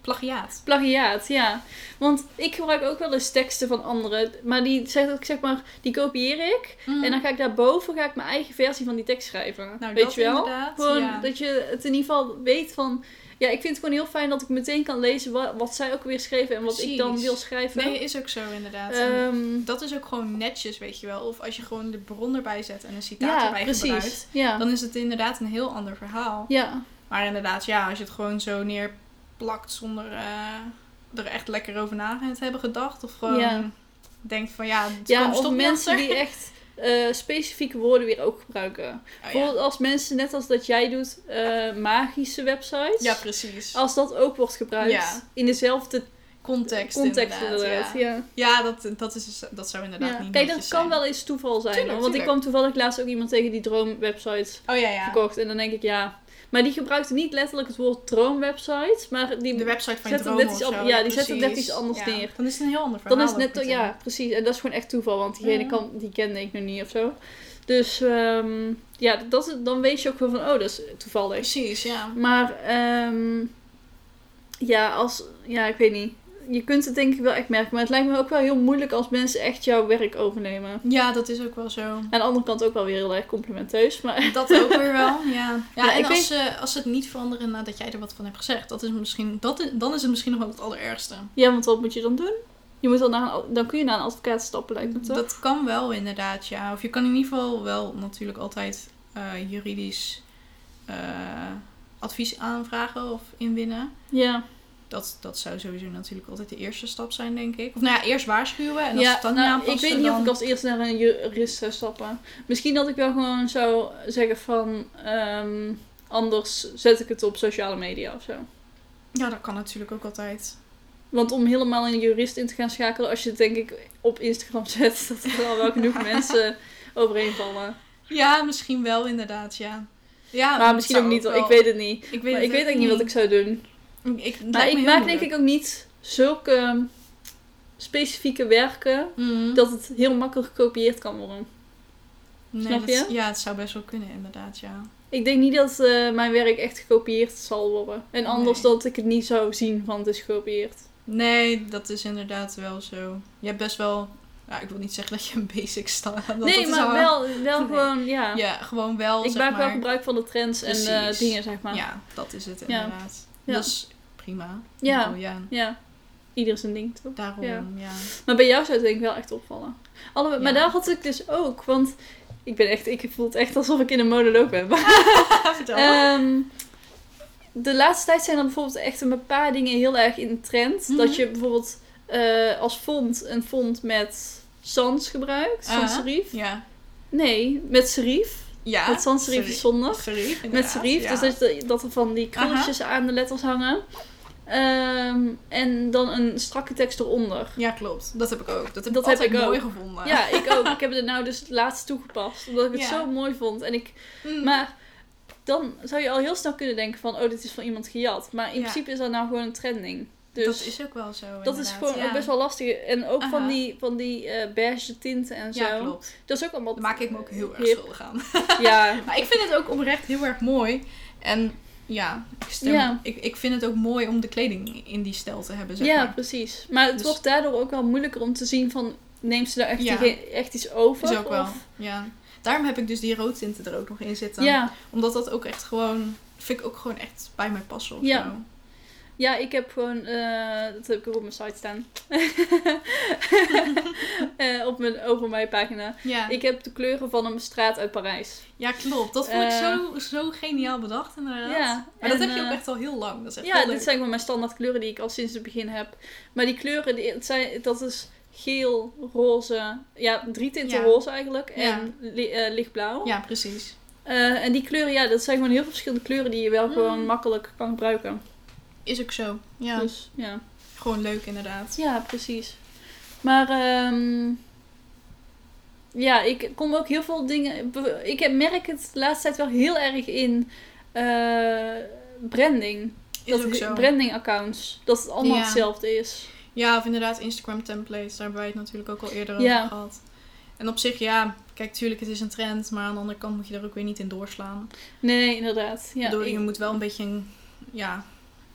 A: plagiaat.
B: Plagiaat, ja. Want ik gebruik ook wel eens teksten van anderen. Maar die, zeg, ik zeg maar, die kopieer ik. En dan ga ik daarboven ga ik mijn eigen versie van die tekst schrijven.
A: Mm. nou,
B: Weet
A: dat
B: je wel?
A: Inderdaad,
B: Gewoon
A: ja.
B: dat je het in ieder geval weet van... Ja, ik vind het gewoon heel fijn dat ik meteen kan lezen wa- wat, zij ook weer schreven en wat ik dan
A: Precies.
B: wil schrijven.
A: Nee, is ook zo inderdaad. En
B: Ehm,
A: dat is ook gewoon netjes, weet je wel. Of als je gewoon de bron erbij zet en een citaat
B: ja,
A: erbij
B: precies.
A: gebruikt.
B: ja.
A: Dan is het inderdaad een heel ander verhaal.
B: ja,
A: Maar inderdaad, ja, als je het gewoon zo neerplakt zonder eh, er echt lekker over na te hebben gedacht. Of gewoon
B: Ja.
A: denkt van ja, het
B: ja
A: komt
B: of
A: toch
B: mensen die
A: [LAUGHS]
B: echt eh, specifieke woorden weer ook gebruiken.
A: Oh,
B: Bijvoorbeeld als mensen, net als dat jij doet, eh, magische websites.
A: ja. precies.
B: als dat ook wordt gebruikt
A: Ja.
B: in dezelfde
A: Context,
B: context
A: inderdaad.
B: inderdaad.
A: ja,
B: ja.
A: ja dat, dat, is, dus- dat zou inderdaad
B: Ja.
A: niet
B: Kijk, dat kan
A: netjes zijn.
B: wel eens toeval zijn.
A: Tuurlijk,
B: hoor, want ik
A: tuurlijk.
B: kwam toevallig laatst ook iemand tegen die droomwebsite
A: Oh ja, ja.
B: verkocht. En dan denk ik, ja. Maar die gebruikte niet letterlijk het woord droomwebsite. Maar die,
A: De website
B: Zet
A: van je
B: het
A: droom
B: net
A: of
B: iets op-
A: zo.
B: ja, die zet het net
A: precies.
B: iets anders
A: Ja,
B: neer.
A: Dan is het een heel ander verhaal.
B: dan is het
A: ook
B: net...
A: meteen.
B: Ja, precies. En dat is gewoon echt toeval. Want diegene
A: Ja.
B: kan, die kende ik nog niet of zo. Dus ehm, ja, dat, is- dan weet je ook wel van, oh, dat is toevallig.
A: Precies, ja.
B: Maar ehm, ja, als... Ja, ik weet niet. Je kunt het denk ik wel echt merken. Maar het lijkt me ook wel heel moeilijk als mensen echt jouw werk overnemen.
A: Ja, dat is ook wel zo.
B: Aan de andere kant ook wel weer heel erg complimenteus. Maar [LAUGHS]
A: Dat ook weer wel, ja. ja,
B: Ja,
A: en
B: ik
A: als, ze, als ze het niet veranderen nadat jij er wat van hebt gezegd, dat is misschien, dat is- dan is het misschien nog wel het allerergste.
B: ja, want wat moet je dan doen? Je moet dan, naar een ad- dan kun je naar een advocaat stappen, lijkt me toch?
A: Dat kan wel inderdaad, ja. Of je kan in ieder geval wel natuurlijk altijd eh, juridisch eh, advies aanvragen of inwinnen.
B: Ja.
A: Dat, dat zou sowieso natuurlijk altijd de eerste stap zijn, denk ik. Of nou ja, eerst waarschuwen en als
B: ja,
A: ze het dan
B: nou,
A: niet aanpassen,
B: ik weet niet
A: dan...
B: of ik als eerste naar een jurist zou stappen. Misschien dat ik wel gewoon zou zeggen van... ehm, anders zet ik het op sociale media of zo.
A: Ja, dat kan natuurlijk ook altijd.
B: Want om helemaal een jurist in te gaan schakelen... als je het denk ik op Instagram [LAUGHS] zet... dat er al wel
A: [LAUGHS]
B: genoeg mensen overheen vallen.
A: Ja, misschien wel inderdaad, ja. ja
B: maar misschien ook
A: zou
B: niet, hoor.
A: wel-
B: ik weet het niet.
A: ik
B: Maar
A: het
B: ik weet ook niet wat ik zou doen.
A: Ik, ik, het
B: Maar
A: lijkt me
B: ik
A: heel
B: maak denk ik
A: moeilijk.
B: ook niet zulke ehm, specifieke werken
A: Mhm.
B: dat het heel makkelijk gekopieerd kan worden.
A: Nee,
B: snap
A: dat-
B: je?
A: Ja, het zou best wel kunnen, inderdaad, ja.
B: Ik denk niet dat eh, mijn werk echt gekopieerd zal worden. En anders
A: Nee.
B: dat ik het niet zou zien van het is gekopieerd.
A: Nee, dat is inderdaad wel zo. Je hebt best wel... Nou, ik wil niet zeggen dat je een basic staat. want dat
B: nee,
A: is
B: maar
A: al-
B: wel, wel
A: Nee.
B: gewoon, ja.
A: Ja, gewoon wel,
B: ik
A: zeg
B: maak
A: maar.
B: wel gebruik van de trends en eh,
A: Precies.
B: dingen, zeg maar.
A: Ja, dat is het
B: Ja.
A: inderdaad.
B: Ja.
A: Dus prima.
B: Ja.
A: Ik bedoel, ja.
B: Ja. Ieder zijn ding, toch?
A: Daarom,
B: Ja.
A: ja.
B: [LAUGHS] Maar bij jou zou het denk ik wel echt opvallen. Alle, Maar
A: Ja.
B: daar had ik dus ook, want ik ben echt, ik voel het echt alsof ik in een monoloog ben. Maar,
A: Vertel.
B: ehm, de laatste tijd zijn er bijvoorbeeld echt een paar dingen heel erg in de trend.
A: Mhm.
B: Dat je bijvoorbeeld eh, als font een font met sans gebruikt, sans
A: Ah.
B: serif.
A: ja.
B: Nee, met serif.
A: Ja.
B: met sans serif is
A: Sorry.
B: zonder.
A: Serif,
B: Met
A: inderdaad,
B: serif,
A: ja.
B: dus dat, je- dat er van die krulletjes aan de letters hangen. Ehm, en dan een strakke tekst eronder.
A: Ja, klopt. Dat heb ik ook. Dat heb
B: Dat
A: ik
B: heb
A: altijd
B: ik ook.
A: mooi gevonden.
B: Ja, ik
A: [LAUGHS]
B: ook. Ik heb het nou dus het laatst toegepast. Omdat ik het
A: Ah. Ja.
B: zo mooi vond. En ik,
A: Mm.
B: maar dan zou je al heel snel kunnen denken van... Oh, dit is van iemand gejat. Maar in
A: Ja.
B: principe is dat nou gewoon een trending. Dus
A: dat is ook wel zo.
B: dat is
A: inderdaad.
B: gewoon
A: ja.
B: ook best wel lastig. En ook van
A: Aha.
B: die, van die eh, beige tinten en zo.
A: Ja, klopt.
B: Dat is ook allemaal...
A: Daar maak ik me ook heel erg
B: hip.
A: schuldig aan.
B: [LAUGHS] Ja.
A: Maar ik vind het ook oprecht heel erg mooi. En ja, ik, stem-
B: Ja.
A: ik, ik vind het ook mooi om de kleding in die stijl te hebben, [LAUGHS] zeg
B: ja,
A: maar.
B: precies. Maar het
A: Dus-
B: wordt daardoor ook wel moeilijker om te zien van... Neemt ze daar echt,
A: Ja.
B: die- echt iets over?
A: Dat is ook wel,
B: Of-
A: ja. Daarom heb ik dus die roodtinten er ook nog in zitten.
B: Ja.
A: Omdat dat ook echt gewoon... Vind ik ook gewoon echt bij mij passen of
B: Ja.
A: zo.
B: Ja, ik heb gewoon, eh, dat heb ik ook op mijn site
A: [LAUGHS]
B: staan. [LAUGHS] Eh, op mijn over mij pagina.
A: Ja.
B: Ik heb de kleuren van een straat uit Parijs.
A: ja, klopt. Dat vond ik
B: Eh.
A: zo, zo geniaal bedacht, inderdaad.
B: Ja,
A: Maar dat
B: en,
A: heb je ook
B: eh,
A: echt al heel lang. Dat is echt
B: Ja,
A: heel
B: dit
A: leuk.
B: zijn gewoon mijn standaard kleuren die ik al sinds het begin heb. Maar die kleuren, die, het zijn, dat is geel, roze, ja, drie tinten
A: Ja.
B: roze eigenlijk.
A: Ja.
B: En li- eh, lichtblauw.
A: Ja, precies.
B: Eh, en die kleuren, ja, dat zijn gewoon heel veel verschillende kleuren die je wel gewoon
A: Mm.
B: makkelijk kan gebruiken.
A: Is ook zo. Ja,
B: Dus, ja.
A: gewoon leuk inderdaad.
B: Ja, precies. Maar ehm, ja, ik kom ook heel veel dingen. Ik heb- merk het de laatste tijd wel heel erg in eh, branding.
A: Is
B: dat
A: ook
B: ik-
A: zo.
B: Branding accounts. Dat het allemaal
A: Ja.
B: hetzelfde is.
A: Ja, of inderdaad Instagram templates. Daar hebben wij het natuurlijk ook al eerder
B: Ja.
A: over gehad. En op zich, ja, kijk, tuurlijk, het is een trend. Maar aan de andere kant moet je er ook weer niet in doorslaan.
B: Nee, inderdaad. Ja,
A: Door, je
B: ik-
A: moet wel een beetje, een- ja,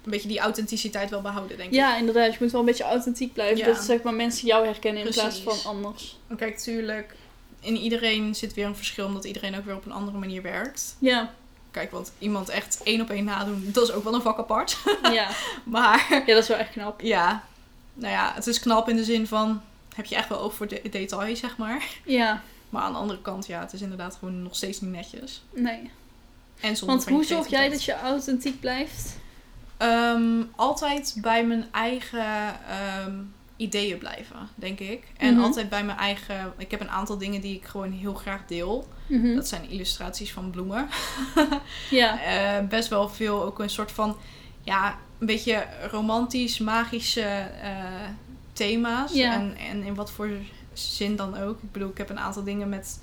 A: een beetje die authenticiteit wel behouden, denk ik.
B: ja, inderdaad. Je moet wel een beetje authentiek blijven.
A: Ja.
B: Dat zeg maar mensen jou herkennen in
A: Precies.
B: plaats van anders.
A: En Kijk, tuurlijk, in iedereen zit weer een verschil. Omdat iedereen ook weer op een andere manier werkt. [LAUGHS]
B: Ja,
A: Kijk, want iemand echt één op één nadoen, dat is ook wel een vak apart. [LAUGHS]
B: ja.
A: Maar
B: ja, dat is wel echt knap.
A: ja, nou ja, het is knap in de zin van... Heb je echt wel oog voor de detail, zeg maar.
B: Ja,
A: Maar aan de andere kant, ja, het is inderdaad gewoon nog steeds niet netjes.
B: nee.
A: En soms
B: Want hoe zorg jij dat je authentiek blijft?
A: Ehm, altijd bij mijn eigen ehm, ideeën blijven, denk ik. En
B: Mhm.
A: altijd bij mijn eigen... Ik heb een aantal dingen die ik gewoon heel graag deel.
B: Mhm.
A: Dat zijn illustraties van bloemen.
B: Ja,
A: Eh, best wel veel ook een soort van... Ja, een beetje romantisch, magische eh, thema's.
B: Ja.
A: En, en in wat voor zin dan ook. Ik bedoel, ik heb een aantal dingen met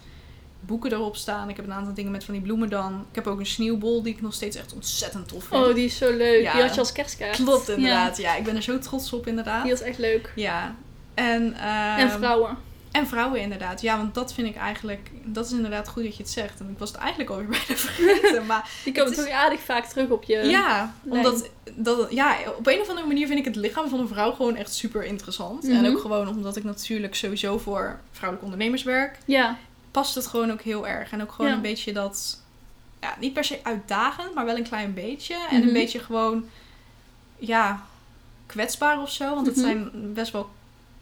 A: boeken erop staan. Ik heb een aantal dingen met van die bloemen dan. Ik heb ook een sneeuwbol die ik nog steeds echt ontzettend tof vind.
B: Oh, die is zo leuk.
A: Ja.
B: Die had je als kerstkaart.
A: [LAUGHS] Klopt, inderdaad. Ja. ik ben er zo trots op,
B: Ja,
A: inderdaad.
B: die was echt leuk.
A: Ja. En, ehm,
B: en vrouwen.
A: En vrouwen, inderdaad. Ja, want dat vind ik eigenlijk... Dat is inderdaad goed dat je het zegt. En ik was het eigenlijk alweer [LAUGHS] bijna vergeten. Maar
B: Die komen
A: het is-
B: toch aardig vaak terug op je.
A: ja,
B: nee.
A: Ehm, omdat... Dat, ja, op een of andere manier vind ik het lichaam van een vrouw gewoon echt super interessant.
B: Mhm.
A: En ook gewoon omdat ik natuurlijk sowieso voor vrouwelijke ondernemers werk...
B: Ja,
A: past het gewoon ook heel erg. En ook gewoon
B: Ja.
A: een beetje dat... Ja, niet per se uitdagend, maar wel een klein beetje. En
B: Mhm.
A: een beetje gewoon... Ja, kwetsbaar of zo. Want het
B: Mhm.
A: zijn best wel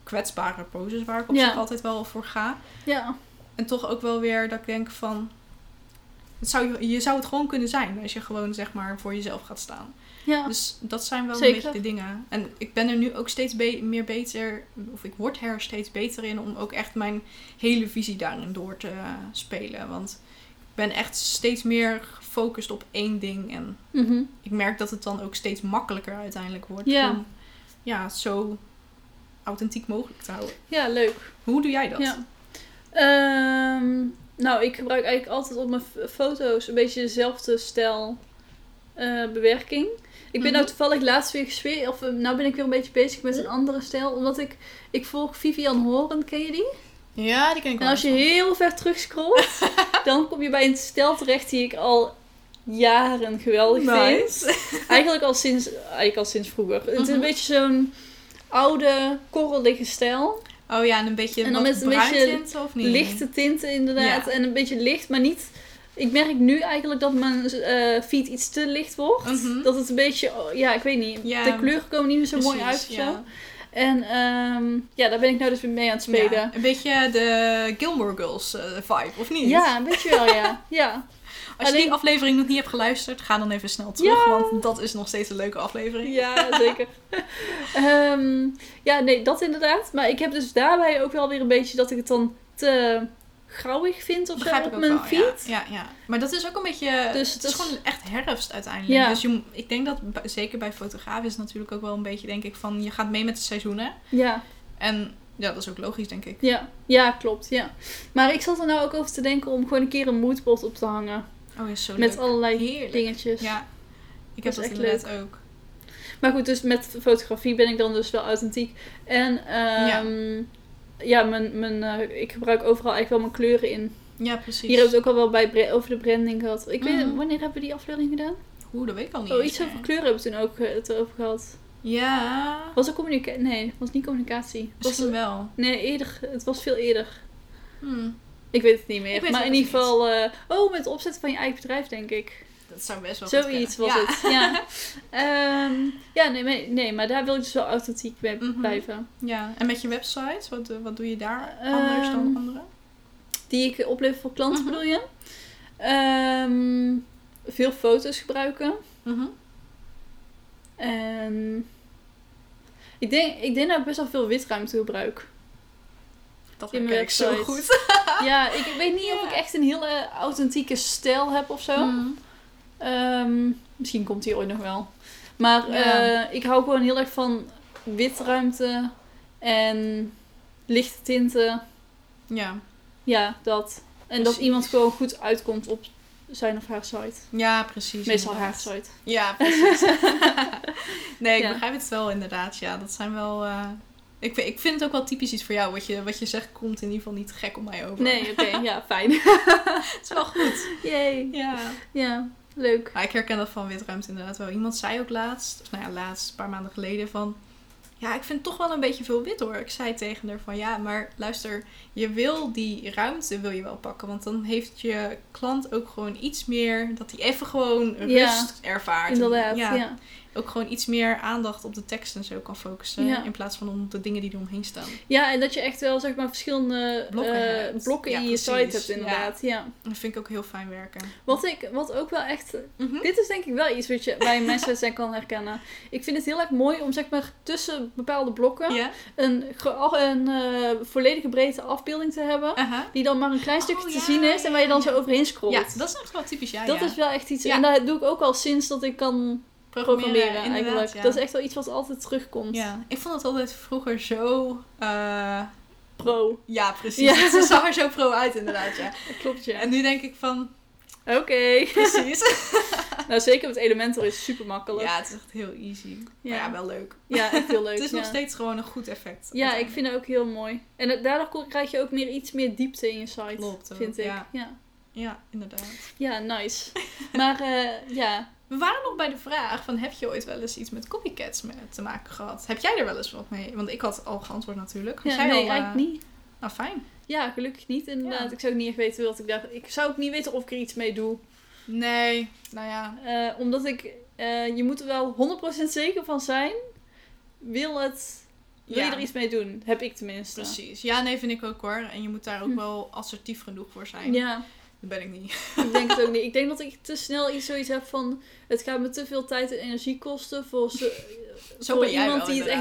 A: kwetsbare poses waar ik op
B: Ja.
A: zich altijd wel voor ga.
B: ja,
A: En toch ook wel weer dat ik denk van... Het zou, je zou het gewoon kunnen zijn als je gewoon zeg maar voor jezelf gaat staan.
B: ja.
A: Dus dat zijn wel
B: Zeker.
A: een beetje de dingen. En ik ben er nu ook steeds be- meer beter, of ik word er steeds beter in om ook echt mijn hele visie daarin door te eh, spelen. Want ik ben echt steeds meer gefocust op één ding. En
B: Mhm.
A: ik merk dat het dan ook steeds makkelijker uiteindelijk wordt
B: Ja.
A: om ja, het zo authentiek mogelijk te houden.
B: Ja, leuk.
A: Hoe doe jij dat?
B: Ja. Ehm, nou, ik gebruik eigenlijk altijd op mijn f- foto's een beetje dezelfde stijl eh, bewerking. Ik ben
A: Mhm.
B: nou toevallig laatst weer gespeeld, of eh, nou ben ik weer een beetje bezig met een andere stijl. Omdat ik, ik volg Vivian Horen, ken je die?
A: Ja, die ken ik
B: En als je heel ver terugscrollt,
A: [LAUGHS]
B: dan kom je bij een stijl terecht die ik al jaren geweldig
A: Nice. [LAUGHS]
B: vind. Eigenlijk al sinds, eigenlijk al sinds vroeger. Het is een
A: Mhm.
B: beetje zo'n oude, korrelige stijl.
A: Oh ja, en een beetje
B: En dan
A: wat
B: met een
A: bruin
B: beetje
A: tint, of niet?
B: Lichte tinten inderdaad.
A: Ja.
B: En een beetje licht, maar niet Ik merk nu eigenlijk dat mijn eh, feed iets te licht wordt.
A: Mhm.
B: Dat het een beetje, oh, ja, ik weet niet.
A: Ja.
B: De kleuren komen niet meer zo mooi uit of
A: Precies, ja.
B: zo. En ehm, ja, daar ben ik nou dus weer mee aan het spelen. Ja,
A: Ja, een beetje de Gilmore Girls eh, vibe, of niet?
B: een beetje wel,
A: [LAUGHS]
B: ja. ja.
A: Als je
B: alleen-
A: die aflevering nog niet hebt geluisterd, ga dan even snel terug. Want dat is nog steeds een leuke aflevering.
B: Ja, zeker. [LAUGHS] Ehm, ja, nee, dat inderdaad. Maar ik heb dus daarbij ook wel weer een beetje dat ik het dan te grauwig vind of zo
A: Begrijp
B: op
A: ik ook
B: mijn
A: wel, ja.
B: feed.
A: Ja, ja. Maar dat is ook een beetje...
B: Dus het
A: het is
B: is-
A: gewoon echt herfst uiteindelijk.
B: Ja.
A: Dus je, mo- ik denk dat, b- zeker bij fotografen, is het natuurlijk ook wel een beetje, denk ik, van... Je gaat mee met de seizoenen.
B: Ja,
A: En ja, dat is ook logisch, denk ik.
B: ja, ja, klopt. Ja. Maar ik zat er nou ook over te denken om gewoon een keer een moodboard op te hangen.
A: Oh, is zo
B: Met
A: leuk.
B: allerlei
A: Heerlijk.
B: dingetjes.
A: Ja. Ik
B: Dat
A: heb
B: is
A: dat
B: echt
A: inderdaad ook.
B: Maar goed, dus met fotografie ben ik dan dus wel authentiek. En ehm, ja, mijn, mijn, eh, ik gebruik overal eigenlijk wel mijn kleuren in.
A: Ja, precies.
B: Hier hebben we het ook al wel bij bra- over de branding gehad. Ik weet
A: Mhm.
B: wanneer hebben we die aflevering gedaan?
A: Oeh, dat weet ik al niet
B: Oh,
A: eens
B: iets over
A: meer.
B: kleuren hebben we toen ook eh, het over gehad.
A: Ja,
B: Was er communicatie? Nee, het was niet communicatie. Was
A: misschien wel.
B: Nee, eerder. Het was veel eerder.
A: Hm,
B: Ik weet het niet
A: Ik
B: meer.
A: weet
B: maar
A: het
B: in
A: ook
B: ieder geval... eh, oh, met het opzetten van je eigen bedrijf, denk ik.
A: dat zou best wel goed
B: Zoiets was
A: kunnen. Ja.
B: het,
A: [LAUGHS]
B: ja. Ehm, ja, nee, nee, nee, maar daar wil ik dus wel authentiek bij
A: Mhm.
B: blijven.
A: Ja, en met je website, wat, eh, wat doe je daar anders dan
B: Ehm,
A: anderen?
B: Die ik oplever voor klanten,
A: Mhm.
B: bedoel je? Ehm, veel foto's gebruiken.
A: Mhm.
B: En ik denk, ik denk dat ik best wel veel witruimte
A: [LAUGHS]
B: gebruik.
A: Dat
B: in
A: ken
B: mijn
A: ik zo
B: website. [LAUGHS]
A: goed.
B: ja, ik weet niet of
A: Ja.
B: ik echt een hele authentieke stijl heb of zo.
A: Mhm.
B: Ehm, misschien komt die ooit nog wel. Maar
A: Ja.
B: eh, ik hou gewoon heel erg van witruimte en lichte tinten.
A: Ja.
B: Ja, dat. En dat
A: Precies.
B: iemand gewoon goed uitkomt op zijn of haar site.
A: ja, precies.
B: Meestal haar
A: inderdaad.
B: site.
A: Ja,
B: [LAUGHS]
A: precies. nee, ik
B: Ja.
A: begrijp het wel inderdaad. Ja, dat zijn wel... eh, Ik, vind- ik vind het ook wel typisch iets voor jou. Wat je, wat je zegt komt in ieder geval niet gek op mij over.
B: Nee,
A: [LAUGHS]
B: oké, ja, fijn. [LAUGHS]
A: Het is wel goed.
B: Yay.
A: Ja.
B: Ja, leuk.
A: Maar Ah, ik herken dat van witruimte inderdaad wel. Iemand zei ook laatst, of nou ja, laatst, een paar maanden geleden, van... Ja, ik vind toch wel een beetje veel wit hoor. Ik zei tegen haar van, ja, maar luister, je wil die ruimte wil je wel pakken. Want dan heeft je klant ook gewoon iets meer, dat hij even gewoon
B: Ja,
A: rust ervaart.
B: Inderdaad,
A: Ja,
B: ja. Ja.
A: Ook gewoon iets meer aandacht op de tekst en zo kan focussen.
B: Ja.
A: In plaats van op de dingen die er omheen staan.
B: en dat je echt wel zeg maar verschillende eh, blokken,
A: Blokken hebt. Ja,
B: in je
A: precies.
B: site hebt
A: Ja.
B: inderdaad. Ja.
A: Dat vind ik ook heel fijn werken.
B: Wat, ik, wat ook wel echt
A: Mhm.
B: Dit is denk ik wel iets wat je bij [LAUGHS] mensen zijn kan herkennen. Ik vind het heel erg mooi om zeg maar tussen bepaalde blokken
A: Ja?
B: een, ge- al- een eh, volledige breedte afbeelding te hebben.
A: Aha.
B: Die dan maar een klein stukje
A: Oh,
B: te
A: ja,
B: zien is en waar je dan
A: ja,
B: zo
A: ja.
B: overheen scrolt.
A: Ja, dat is echt wel typisch jij.
B: Dat
A: Ah, ja.
B: is wel echt iets.
A: Ja.
B: En dat doe ik ook al sinds dat ik kan programmeren
A: inderdaad,
B: eigenlijk.
A: ja.
B: Dat is echt wel iets wat altijd terugkomt.
A: Ja, ik vond het altijd vroeger zo. eh,
B: Pro.
A: ja, precies.
B: Ja.
A: [LAUGHS] Het zag er zo pro uit, inderdaad. Ja.
B: Dat klopt ja.
A: En nu denk ik
B: [LAUGHS]
A: van,
B: Oké.
A: [LAUGHS] precies.
B: nou zeker met Elementor is super makkelijk.
A: ja, het is echt heel easy. Maar ja, wel leuk.
B: Ja, echt heel leuk.
A: [LAUGHS] het is nog
B: ja.
A: steeds gewoon een goed effect.
B: Ja, ik vind het ook heel mooi. En het- daardoor ko- krijg je ook meer iets meer diepte in je site,
A: Klopt ook,
B: vind ik. Ja.
A: ja.
B: Ja.
A: Ja, inderdaad.
B: nice. Maar eh, ja,
A: We waren nog bij de vraag van, heb je ooit wel eens iets met copycats me- te maken gehad? Heb jij er wel eens wat mee? Want ik had al geantwoord natuurlijk. Had
B: ja
A: jij
B: nee,
A: al, eh,
B: eigenlijk niet.
A: Nou, fijn.
B: Ja, gelukkig niet inderdaad.
A: Ja.
B: Ik zou ook niet echt weten wat ik daar... Ik zou ook niet weten of ik er iets mee doe.
A: Nee, nou ja.
B: Eh, omdat ik... eh, je moet er wel 100% zeker van zijn. Wil het... Wil
A: Ja.
B: je er iets mee doen? Heb ik tenminste.
A: Precies. Ja, nee, vind ik ook hoor. En je moet daar ook
B: Hm.
A: wel assertief genoeg voor zijn.
B: Ja,
A: Dat ben ik niet.
B: ik denk het ook niet. Ik denk dat ik te snel iets zoiets heb van... Het gaat me te veel tijd en energie kosten voor, ze,
A: Zo
B: voor
A: ben jij
B: iemand
A: wel,
B: die het echt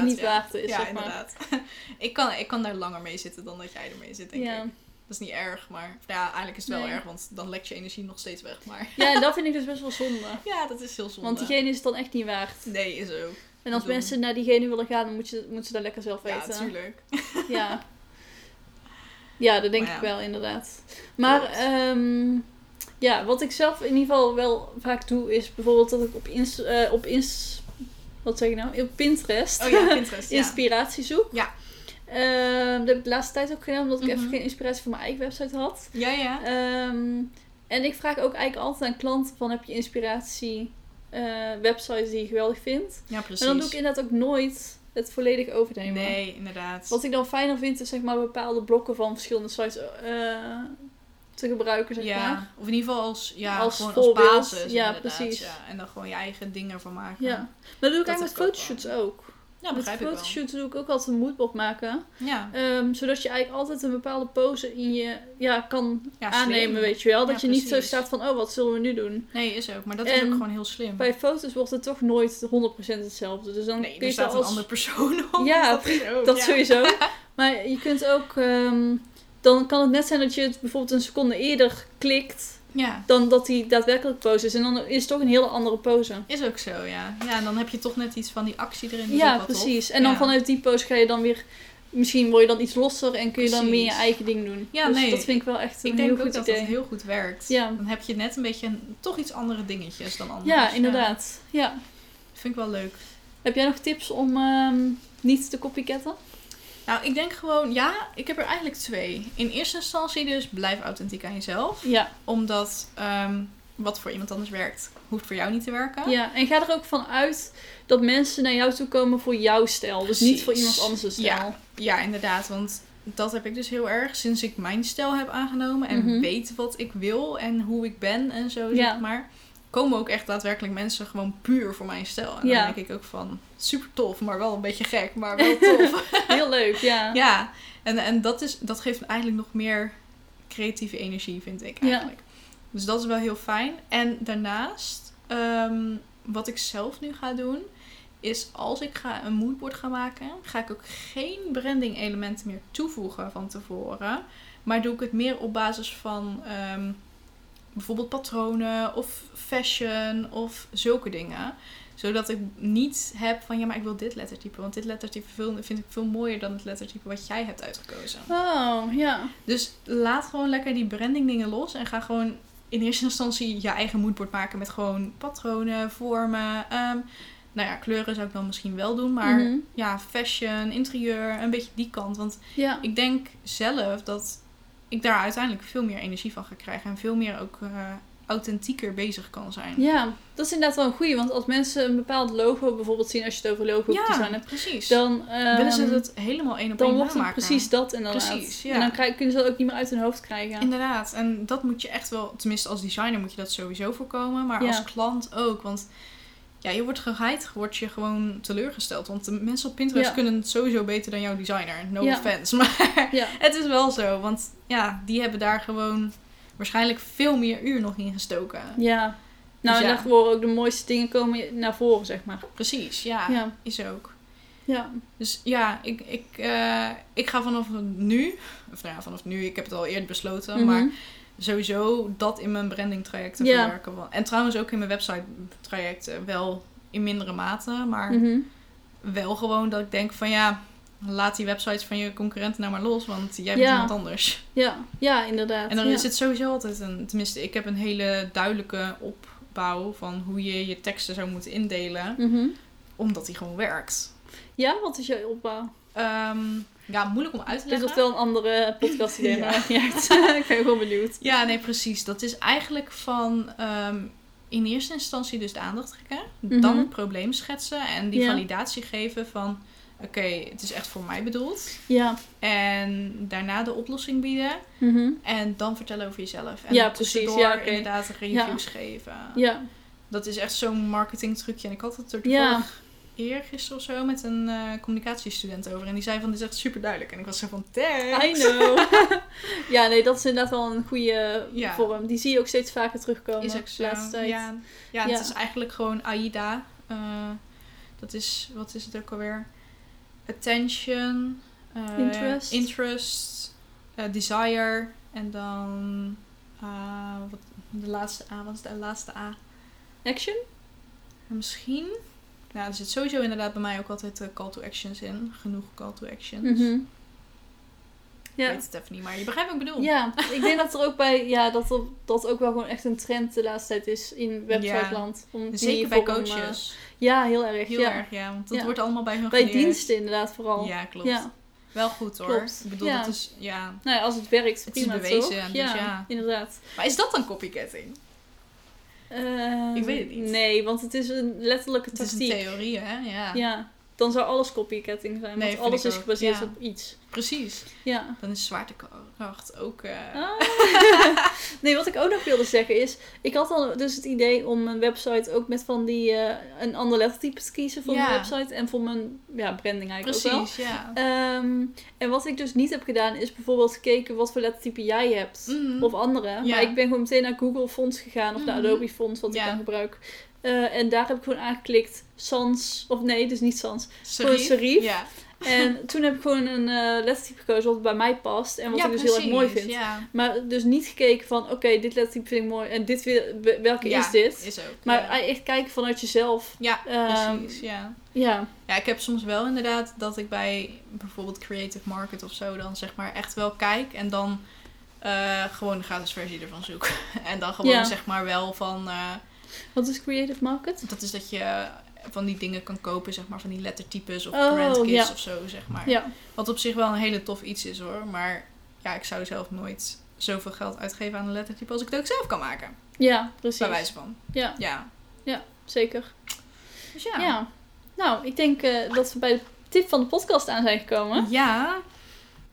B: niet
A: inderdaad, ja.
B: waard is,
A: ja,
B: zeg maar.
A: inderdaad. [LAUGHS] Ik kan, ik kan daar langer mee zitten dan dat jij ermee zit, [LAUGHS] denk
B: ja.
A: ik. Dat is niet erg, maar... Ja, eigenlijk is het wel
B: Nee.
A: erg, want dan lekt je energie nog steeds weg. Maar [LAUGHS]
B: ja, en dat vind ik dus best wel zonde.
A: ja, dat is heel zonde.
B: Want diegene is het dan echt niet waard.
A: Nee, is ook.
B: En als
A: Dom.
B: mensen naar diegene willen gaan, dan moet je, moeten ze dat lekker zelf
A: Ja,
B: weten.
A: natuurlijk.
B: Ja, ja dat denk
A: Maar ja.
B: ik wel, inderdaad. Maar ehm, ja, wat ik zelf in ieder geval wel vaak doe, is bijvoorbeeld dat ik op ins... eh, op ins wat zeg ik nou? Op Pinterest
A: Oh ja,
B: [LAUGHS]
A: Pinterest, ja.
B: inspiratie zoek.
A: Ja.
B: Ehm, dat heb ik de laatste tijd ook gedaan, omdat ik even
A: Mhm.
B: geen inspiratie voor mijn eigen website had.
A: Ja, ja.
B: Ehm, en ik vraag ook eigenlijk altijd aan klanten van heb je inspiratie eh, websites die je geweldig vindt.
A: Ja, precies.
B: Maar dan doe ik inderdaad ook nooit het volledig overnemen.
A: Nee, inderdaad.
B: Wat ik dan fijner vind is zeg maar bepaalde blokken van verschillende sites eh, te gebruiken, zeg
A: ja,
B: maar.
A: of in ieder geval als, ja,
B: Als
A: gewoon
B: voorbeeld.
A: als basis.
B: Ja,
A: inderdaad,
B: precies.
A: Ja. En dan gewoon je eigen dingen van maken.
B: Ja. Maar dat doe ik
A: Dat
B: eigenlijk met
A: heb ik ook
B: fotoshoots ook.
A: ja
B: met
A: begrijp ik wel.
B: fotoshoots doe ik ook altijd een moodboard maken.
A: Ja,
B: Ehm, zodat je eigenlijk altijd een bepaalde pose in je ja, kan
A: ja
B: aannemen,
A: slim.
B: weet je wel. Dat
A: Ja,
B: je niet zo
A: precies. Mhm.
B: staat van, oh, wat zullen we nu doen?
A: Nee, is ook. Maar dat is
B: En
A: ook gewoon heel slim.
B: Bij foto's wordt het toch nooit 100% hetzelfde. Dus dan
A: nee,
B: kun
A: er
B: je
A: staat
B: het
A: een
B: als...
A: andere persoon op.
B: Ja,
A: [LAUGHS] dat is ook,
B: [LAUGHS] Dat
A: ja. [LAUGHS]
B: sowieso. Maar je kunt ook... ehm, dan kan het net zijn dat je het bijvoorbeeld een seconde eerder klikt...
A: Ja,
B: dan dat hij daadwerkelijk pose is. En dan is het toch een hele andere pose.
A: is ook zo, ja. Ja, en dan heb je toch net iets van die actie erin. dat is ook
B: Ja,
A: wel tof.
B: precies. En dan
A: Ja.
B: vanuit die pose ga je dan weer... Misschien word je dan iets losser en kun je dan meer je
A: Precies.
B: eigen ding doen.
A: Ja,
B: dus
A: nee.
B: dat vind ik wel echt een
A: Ik
B: heel
A: denk ook
B: goed
A: dat
B: idee.
A: dat heel goed werkt.
B: Ja.
A: Dan heb je net een beetje een- toch iets andere dingetjes dan anders.
B: Ja, inderdaad. Ja.
A: Vind ik wel leuk.
B: Heb jij nog tips om ehm, niet te copycatten?
A: Nou, ik denk gewoon, ja, ik heb er eigenlijk twee. In eerste instantie dus, blijf authentiek aan jezelf.
B: Ja.
A: Omdat ehm, wat voor iemand anders werkt, hoeft voor jou niet te werken.
B: ja. En ga er ook van uit dat mensen naar jou toe komen voor jouw stijl. Dus niet voor
A: Precies.
B: iemand anders' stijl.
A: Ja. Ja, inderdaad. Want dat heb ik dus heel erg sinds ik mijn stijl heb aangenomen. En
B: Mhm.
A: weet wat ik wil en hoe ik ben en zo,
B: Ja.
A: zeg maar. Komen ook echt daadwerkelijk mensen gewoon puur voor mijn stijl. En dan
B: Ja.
A: denk ik ook van, super tof, maar wel een beetje gek, maar wel tof.
B: [LAUGHS]
A: [LAUGHS]
B: Heel leuk, ja.
A: ja, en, en dat, is, dat geeft eigenlijk nog meer creatieve energie, vind ik
B: Ja.
A: eigenlijk. Dus dat is wel heel fijn. En daarnaast, ehm, wat ik zelf nu ga doen, is als ik ga een moodboard ga maken, ga ik ook geen branding elementen meer toevoegen van tevoren. Maar doe ik het meer op basis van ehm, bijvoorbeeld patronen of fashion of zulke dingen. Zodat ik niet heb van ja, maar ik wil dit lettertype. Want dit lettertype veel- vind ik veel mooier dan het lettertype wat jij hebt uitgekozen.
B: Oh, ja.
A: Dus laat gewoon lekker die branding dingen los. En ga gewoon in eerste instantie je eigen moodboard maken met gewoon patronen, vormen. ehm, nou ja, kleuren zou ik dan misschien wel doen. Maar
B: Mhm.
A: ja, fashion, interieur, een beetje die kant. Want
B: Ja.
A: ik denk zelf dat ik daar uiteindelijk veel meer energie van ga krijgen. En veel meer ook eh, authentieker bezig kan zijn.
B: ja, dat is inderdaad wel een goeie. Want als mensen een bepaald logo bijvoorbeeld zien, als je het over logo design hebt,
A: nou, precies. Dan
B: dan, ehm,
A: willen ze het helemaal één op
B: dan
A: één
B: wordt het
A: namaken.
B: precies dat inderdaad.
A: Precies, ja.
B: En dan krijg- kunnen ze dat ook niet meer uit hun hoofd krijgen.
A: Inderdaad, en dat moet je echt wel, tenminste als designer moet je dat sowieso voorkomen, maar
B: Ja.
A: als klant ook. Want ja, je wordt geheid, word je gewoon teleurgesteld. Want de mensen op Pinterest
B: Ja.
A: kunnen het sowieso beter dan jouw designer. No
B: Ja.
A: offense, [LAUGHS] maar
B: Ja.
A: het is wel zo. Want ja, die hebben daar gewoon waarschijnlijk veel meer uur nog in gestoken.
B: Ja. Nou,
A: Dus
B: en
A: ja.
B: daar worden ook de mooiste dingen komen naar voren, zeg maar.
A: Precies, ja,
B: Ja.
A: is ook.
B: Ja.
A: Dus ja, ik, ik, eh, ik ga vanaf nu, of nou ja, vanaf nu, ik heb het al eerder besloten, maar
B: Mhm.
A: sowieso dat in mijn branding trajecten
B: Ja.
A: verwerken. Want- En trouwens ook in mijn website trajecten wel in mindere mate. Maar
B: Mhm.
A: wel gewoon dat ik denk van ja, laat die websites van je concurrenten nou maar los. Want jij bent
B: Ja.
A: iemand anders.
B: Ja. Ja, inderdaad.
A: En dan
B: ja.
A: is het sowieso altijd een... Tenminste, ik heb een hele duidelijke opbouw van hoe je je teksten zou moeten indelen.
B: Mhm.
A: Omdat die gewoon werkt.
B: Ja, wat is jouw opbouw?
A: Ehm, ja, moeilijk om uit te
B: Dit
A: leggen.
B: wordt wel een andere podcast idee,
A: [LAUGHS] Ja.
B: maar maakt niet
A: [LAUGHS]
B: uit. ik ben gewoon benieuwd.
A: Ja, nee, precies. Dat is eigenlijk van ehm, in eerste instantie dus de aandacht trekken. Dan
B: Mhm.
A: het probleem schetsen en die
B: Ja.
A: validatie geven van... Oké, het is echt voor mij bedoeld.
B: Ja.
A: En daarna de oplossing bieden.
B: Mhm.
A: En dan vertellen over jezelf. En
B: Ja, precies.
A: tussendoor
B: Ja, oké.
A: inderdaad reviews geven.
B: Ja.
A: Dat is echt zo'n marketing trucje. En ik had het er
B: Ja.
A: toevallig eergisteren of zo met een eh, communicatiestudent over. En die zei van, dit is echt super duidelijk. En ik was zo van, thanks.
B: I know.
A: [LAUGHS]
B: ja, nee, dat is inderdaad wel een goede
A: Ja.
B: vorm. Die zie je ook steeds vaker terugkomen
A: Is ook
B: de
A: zo,
B: laatste tijd.
A: Ja, ja,
B: Ja.
A: het is eigenlijk gewoon AIDA. Eh, dat is, wat is het ook alweer? Attention. eh,
B: Interest.
A: interest, eh, desire. En dan... eh, wat, de laatste A. Wat is de laatste A?
B: Action?
A: Misschien... Nou, er zit sowieso inderdaad bij mij ook altijd eh, call to actions in. Genoeg call to actions.
B: Mhm.
A: Ik
B: Ja.
A: weet het even niet, maar je begrijpt wat ik bedoel.
B: Ja, ik denk dat er ook bij, ja, dat er, dat ook wel gewoon echt een trend de laatste tijd is in websiteland. Om die
A: Zeker bij
B: vorm, eh,
A: coaches.
B: ja, heel erg.
A: Heel
B: ja.
A: erg, ja. Want dat
B: Ja.
A: wordt allemaal bij hun
B: Bij
A: geleerd.
B: diensten inderdaad vooral.
A: Ja, klopt.
B: Ja.
A: Wel goed hoor.
B: Klopt.
A: Ik bedoel,
B: Ja.
A: dat is, ja.
B: Nou ja, als het werkt,
A: Het is
B: prima
A: bewezen,
B: toch?
A: dus ja.
B: inderdaad.
A: Maar is dat dan copycatting?
B: Ehm,
A: Ik weet het niet.
B: Nee, want het is een letterlijke
A: Het is een
B: tactiek.
A: theorie, hè? Ja.
B: ja. Dan zou alles copycatting zijn.
A: Nee,
B: want
A: vind
B: alles
A: ik
B: is
A: ook.
B: gebaseerd
A: Ja.
B: op iets.
A: Precies.
B: Ja.
A: Dan is zwaartekracht ook... eh,
B: Ah. [LAUGHS] nee, wat ik ook nog wilde zeggen is... Ik had al dus het idee om mijn website ook met van die... eh, een ander lettertype te kiezen voor
A: Ja.
B: mijn website. En voor mijn ja, branding eigenlijk ook wel.
A: precies, ja.
B: Ehm, en wat ik dus niet heb gedaan is bijvoorbeeld gekeken wat voor lettertype jij hebt.
A: Mhm.
B: Of anderen.
A: Ja.
B: Maar ik ben gewoon meteen naar Google Fonts gegaan. Of naar
A: Mhm.
B: Adobe Fonts, wat
A: Ja.
B: ik dan gebruik. Eh, en daar heb ik gewoon aangeklikt Sans. Of nee, dus niet Sans.
A: Serif.
B: Voor serif.
A: Ja, [LAUGHS]
B: En toen heb ik gewoon een eh lettertype gekozen wat bij mij past. En wat
A: Ja,
B: ik dus heel erg mooi
A: precies,
B: vind.
A: Ja,
B: Maar dus niet gekeken van, oké, dit lettertype vind ik mooi. En dit, wil- wel- welke
A: Ja,
B: is dit?
A: is ook.
B: Maar
A: ja.
B: echt kijken vanuit jezelf.
A: Ja,
B: Ehm,
A: precies, ja.
B: Ja.
A: Ja, ik heb soms wel inderdaad dat ik bij bijvoorbeeld Creative Market of zo dan zeg maar echt wel kijk en dan eh, gewoon de gratis versie ervan zoek. [LAUGHS] en dan gewoon
B: Ja.
A: zeg maar wel van, eh,
B: Wat is creative market?
A: dat is dat je van die dingen kan kopen, zeg maar van die lettertypes of
B: Oh,
A: brandkits
B: ja.
A: of zo, zeg maar.
B: Ja.
A: Wat op zich wel een hele tof iets is hoor, maar ja, ik zou zelf nooit zoveel geld uitgeven aan een lettertype als ik het ook zelf kan maken.
B: Ja, precies.
A: Bij wijze van.
B: Ja,
A: Ja.
B: zeker.
A: Dus
B: Ja. Nou, ik denk eh, dat we bij de tip van de podcast aan zijn gekomen.
A: Ja.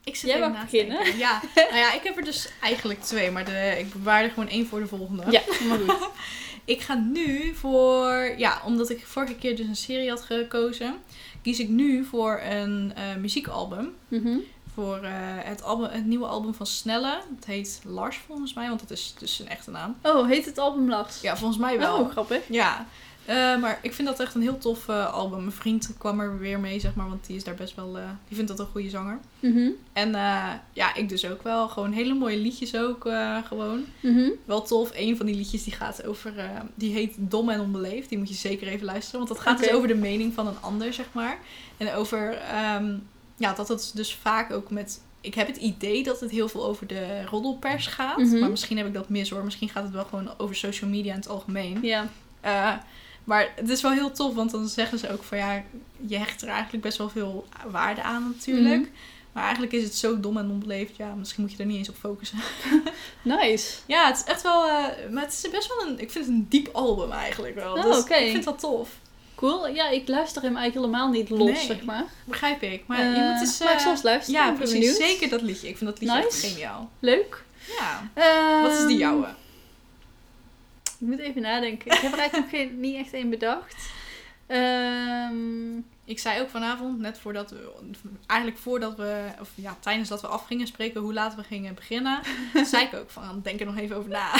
A: Ik zit
B: Jij
A: even
B: mag
A: na te denken.
B: beginnen.
A: Ja.
B: [LAUGHS]
A: Nou ja, ik heb er dus eigenlijk twee, maar de, ik bewaar er gewoon één voor de volgende.
B: Ja, maar goed.
A: [LAUGHS] Ik ga nu voor... Ja, omdat ik vorige keer dus een serie had gekozen, kies ik nu voor een eh, muziekalbum.
B: Mhm.
A: Voor eh, het, album, het nieuwe album van Snelle. Het heet Lars volgens mij, want dat is dus zijn echte naam.
B: Oh, heet het album Lars?
A: Ja, volgens mij wel.
B: Oh, grappig.
A: Ja, Eh, maar ik vind dat echt een heel tof eh, album. Mijn vriend kwam er weer mee, zeg maar, want die is daar best wel... eh, die vindt dat een goede zanger.
B: Mhm.
A: En eh, ja, ik dus ook wel. Gewoon hele mooie liedjes ook eh, gewoon.
B: Mhm.
A: Wel tof. Een van die liedjes die gaat over... eh, die heet Dom en Onbeleefd. Die moet je zeker even luisteren. Want dat gaat dus
B: Oké.
A: over de mening van een ander, zeg maar. En over... ehm, ja, dat het dus vaak ook met... Ik heb het idee dat het heel veel over de roddelpers gaat.
B: Mhm.
A: Maar misschien heb ik dat mis hoor. Misschien gaat het wel gewoon over social media in het algemeen.
B: Ja.
A: Eh, maar het is wel heel tof, want dan zeggen ze ook van ja, je hecht er eigenlijk best wel veel waarde aan natuurlijk.
B: Mhm.
A: Maar eigenlijk is het zo dom en onbeleefd. Ja, misschien moet je er niet eens op focussen.
B: Nice.
A: Ja, het is echt wel. eh, maar het is best wel een. Ik vind het een diep album eigenlijk wel.
B: Oh,
A: dus
B: oké.
A: Ik vind dat tof.
B: Cool. Ja, ik luister hem eigenlijk helemaal niet los,
A: Nee.
B: zeg maar.
A: Begrijp ik. Maar
B: Eh,
A: je moet eens.
B: maar
A: eh,
B: ik zal eens luisteren.
A: ja,
B: ik ben
A: precies.
B: benieuwd.
A: Zeker dat liedje. Ik vind dat liedje echt
B: Nice.
A: geniaal.
B: Leuk.
A: Ja.
B: Ehm,
A: Wat is die jouwe?
B: Ik moet even nadenken. Ik heb er eigenlijk nog geen, niet echt één bedacht. Ehm,
A: Ik zei ook vanavond, net voordat we, eigenlijk voordat we, of ja, tijdens dat we afgingen spreken, hoe laat we gingen beginnen,
B: [LAUGHS]
A: zei ik ook van, denk er nog even over na.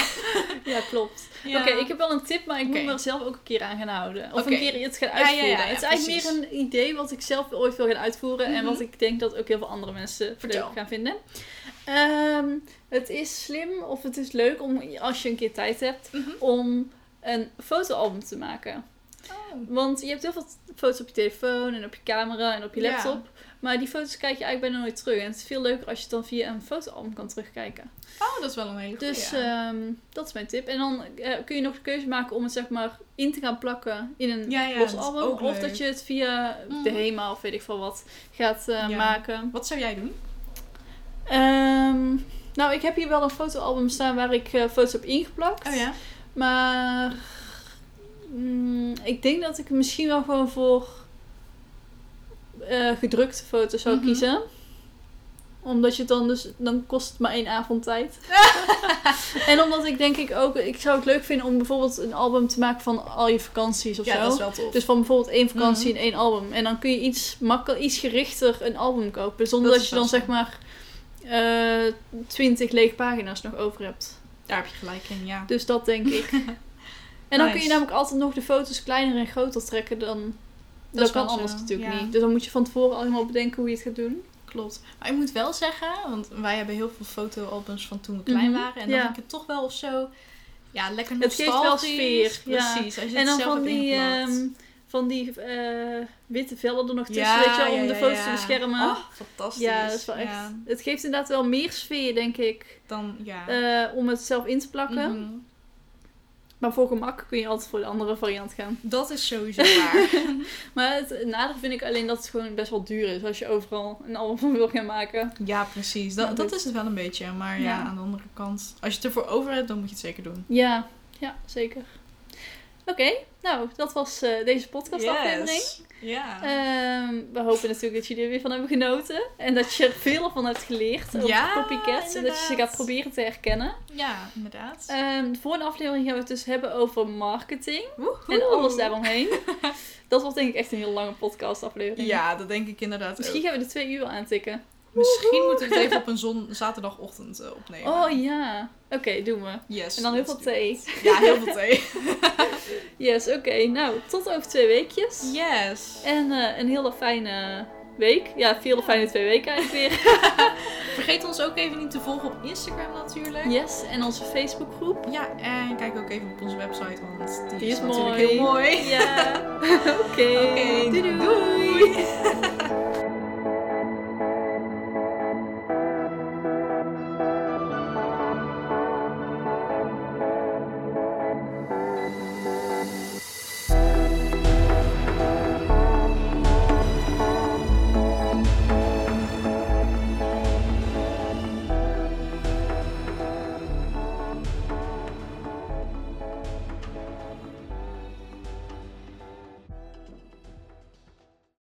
B: ja, klopt.
A: Ja.
B: Oké, ik heb wel een tip, maar ik
A: Oké.
B: moet me er zelf ook een keer aan gaan houden. Of
A: Oké.
B: een keer iets gaan
A: Ja, ja, ja,
B: uitvoeren.
A: ja,
B: het is eigenlijk
A: precies.
B: meer een idee wat ik zelf ooit wil gaan uitvoeren. En
A: Mhm.
B: wat ik denk dat ook heel veel andere mensen
A: Vertel.
B: leuk gaan vinden. Ehm, het is slim of het is leuk om, als je een keer tijd hebt,
A: Mhm.
B: om een fotoalbum te maken.
A: Oh.
B: Want je hebt heel veel foto's op je telefoon en op je camera en op je
A: Ja.
B: laptop. Maar die foto's kijk je eigenlijk bijna nooit terug. En het is veel leuker als je het dan via een fotoalbum kan terugkijken.
A: Oh, dat is wel een hele goeie.
B: Dus ehm, dat is mijn tip. En dan eh, kun je nog de keuze maken om het zeg maar in te gaan plakken in een
A: Ja, ja,
B: los
A: dat is
B: album.
A: ook
B: Of
A: leuk.
B: dat je het via
A: Mhm.
B: de HEMA of weet ik veel wat gaat eh,
A: Ja.
B: maken.
A: Wat zou jij doen?
B: Ehm, nou, ik heb hier wel een fotoalbum staan waar ik eh, foto's heb ingeplakt.
A: Oh,
B: Maar mm, ik denk dat ik misschien wel gewoon voor eh, gedrukte foto's zou
A: Mhm.
B: kiezen. Omdat je het dan dus, dan kost het maar één avond
A: [LAUGHS]
B: tijd. en omdat ik denk ik ook, ik zou het leuk vinden om bijvoorbeeld een album te maken van al je vakanties of
A: Ja,
B: zo.
A: dat is wel tof.
B: Dus van bijvoorbeeld één vakantie
A: Mhm.
B: en één album. En dan kun je iets, makkel, iets gerichter een album kopen. Zonder
A: Dat
B: dat,
A: is
B: je dan
A: wel
B: zeg maar eh, twintig lege pagina's nog over hebt.
A: Daar heb je gelijk in, ja.
B: Dus dat denk
A: [LAUGHS]
B: ik. En dan kun
A: Nice.
B: je namelijk altijd nog de foto's kleiner en groter trekken dan. Dat,
A: is
B: kan
A: wel zo,
B: anders natuurlijk
A: ja.
B: niet. Dus dan moet je van tevoren al helemaal bedenken hoe je het gaat doen.
A: Klopt. Maar ik moet wel zeggen, want wij hebben heel veel fotoalbums van toen we klein
B: Mhm,
A: waren. En dan
B: ja.
A: vind ik het toch wel of zo, ja, lekker
B: Het
A: nostalgisch.
B: geeft wel sfeer, ja.
A: Precies. Als
B: en
A: je het
B: dan
A: zelf
B: van
A: hebt
B: die,
A: ingeplakt.
B: ehm, van die eh, witte vellen er nog tussen,
A: Ja,
B: weet je wel, om
A: ja,
B: de
A: ja,
B: foto's
A: ja.
B: te beschermen.
A: Oh, fantastisch.
B: ja, dat is wel echt.
A: Ja,
B: Het geeft inderdaad wel meer sfeer, denk ik,
A: dan, ja.
B: eh, om het zelf in te plakken.
A: Mhm.
B: Maar voor gemak kun je altijd voor de andere variant gaan.
A: Dat
B: [LAUGHS]
A: is sowieso waar.
B: Maar het nadeel vind ik alleen dat het gewoon best wel duur is als je overal een album [LAUGHS] van wil gaan maken.
A: ja, precies.
B: Maar
A: Dat, dat
B: dit-
A: is het wel een beetje. Maar ja,
B: Ja.
A: aan de andere kant, als je het ervoor over hebt, dan moet je het zeker doen.
B: Ja, ja, zeker. Oké, nou, dat was eh, deze podcastaflevering.
A: Ja.
B: Ehm, we hopen natuurlijk dat jullie er weer van hebben genoten. En dat je er veel van hebt geleerd over
A: Ja,
B: copycats. En dat je ze gaat
A: inderdaad.
B: proberen te herkennen.
A: ja, inderdaad.
B: Ehm, de volgende aflevering gaan we het dus hebben over marketing.
A: Woehoe.
B: En alles
A: [LAUGHS]
B: daaromheen. dat wordt denk ik echt een heel lange podcastaflevering.
A: Ja, dat denk ik inderdaad
B: Misschien
A: Misschien,
B: gaan we de twee uur wel aantikken.
A: Misschien moeten we het even op een zon zaterdagochtend eh, opnemen.
B: Oh ja, oké, doen we.
A: Yes.
B: En dan heel
A: let's
B: veel
A: do
B: thee.
A: it. Ja, heel veel
B: [LAUGHS]
A: thee.
B: Yes, oké. Nou, tot over twee weekjes.
A: Yes.
B: En eh, een hele fijne week. Ja, veel fijne twee weken eigenlijk weer.
A: Vergeet ons ook even niet te volgen op Instagram natuurlijk.
B: Yes, en onze Facebookgroep.
A: Ja, en kijk ook even op onze website, want die,
B: Die
A: is,
B: is [LAUGHS]
A: natuurlijk
B: mooi.
A: heel mooi.
B: Ja. Oké.
A: Oké,
B: Doei doei.
A: doei.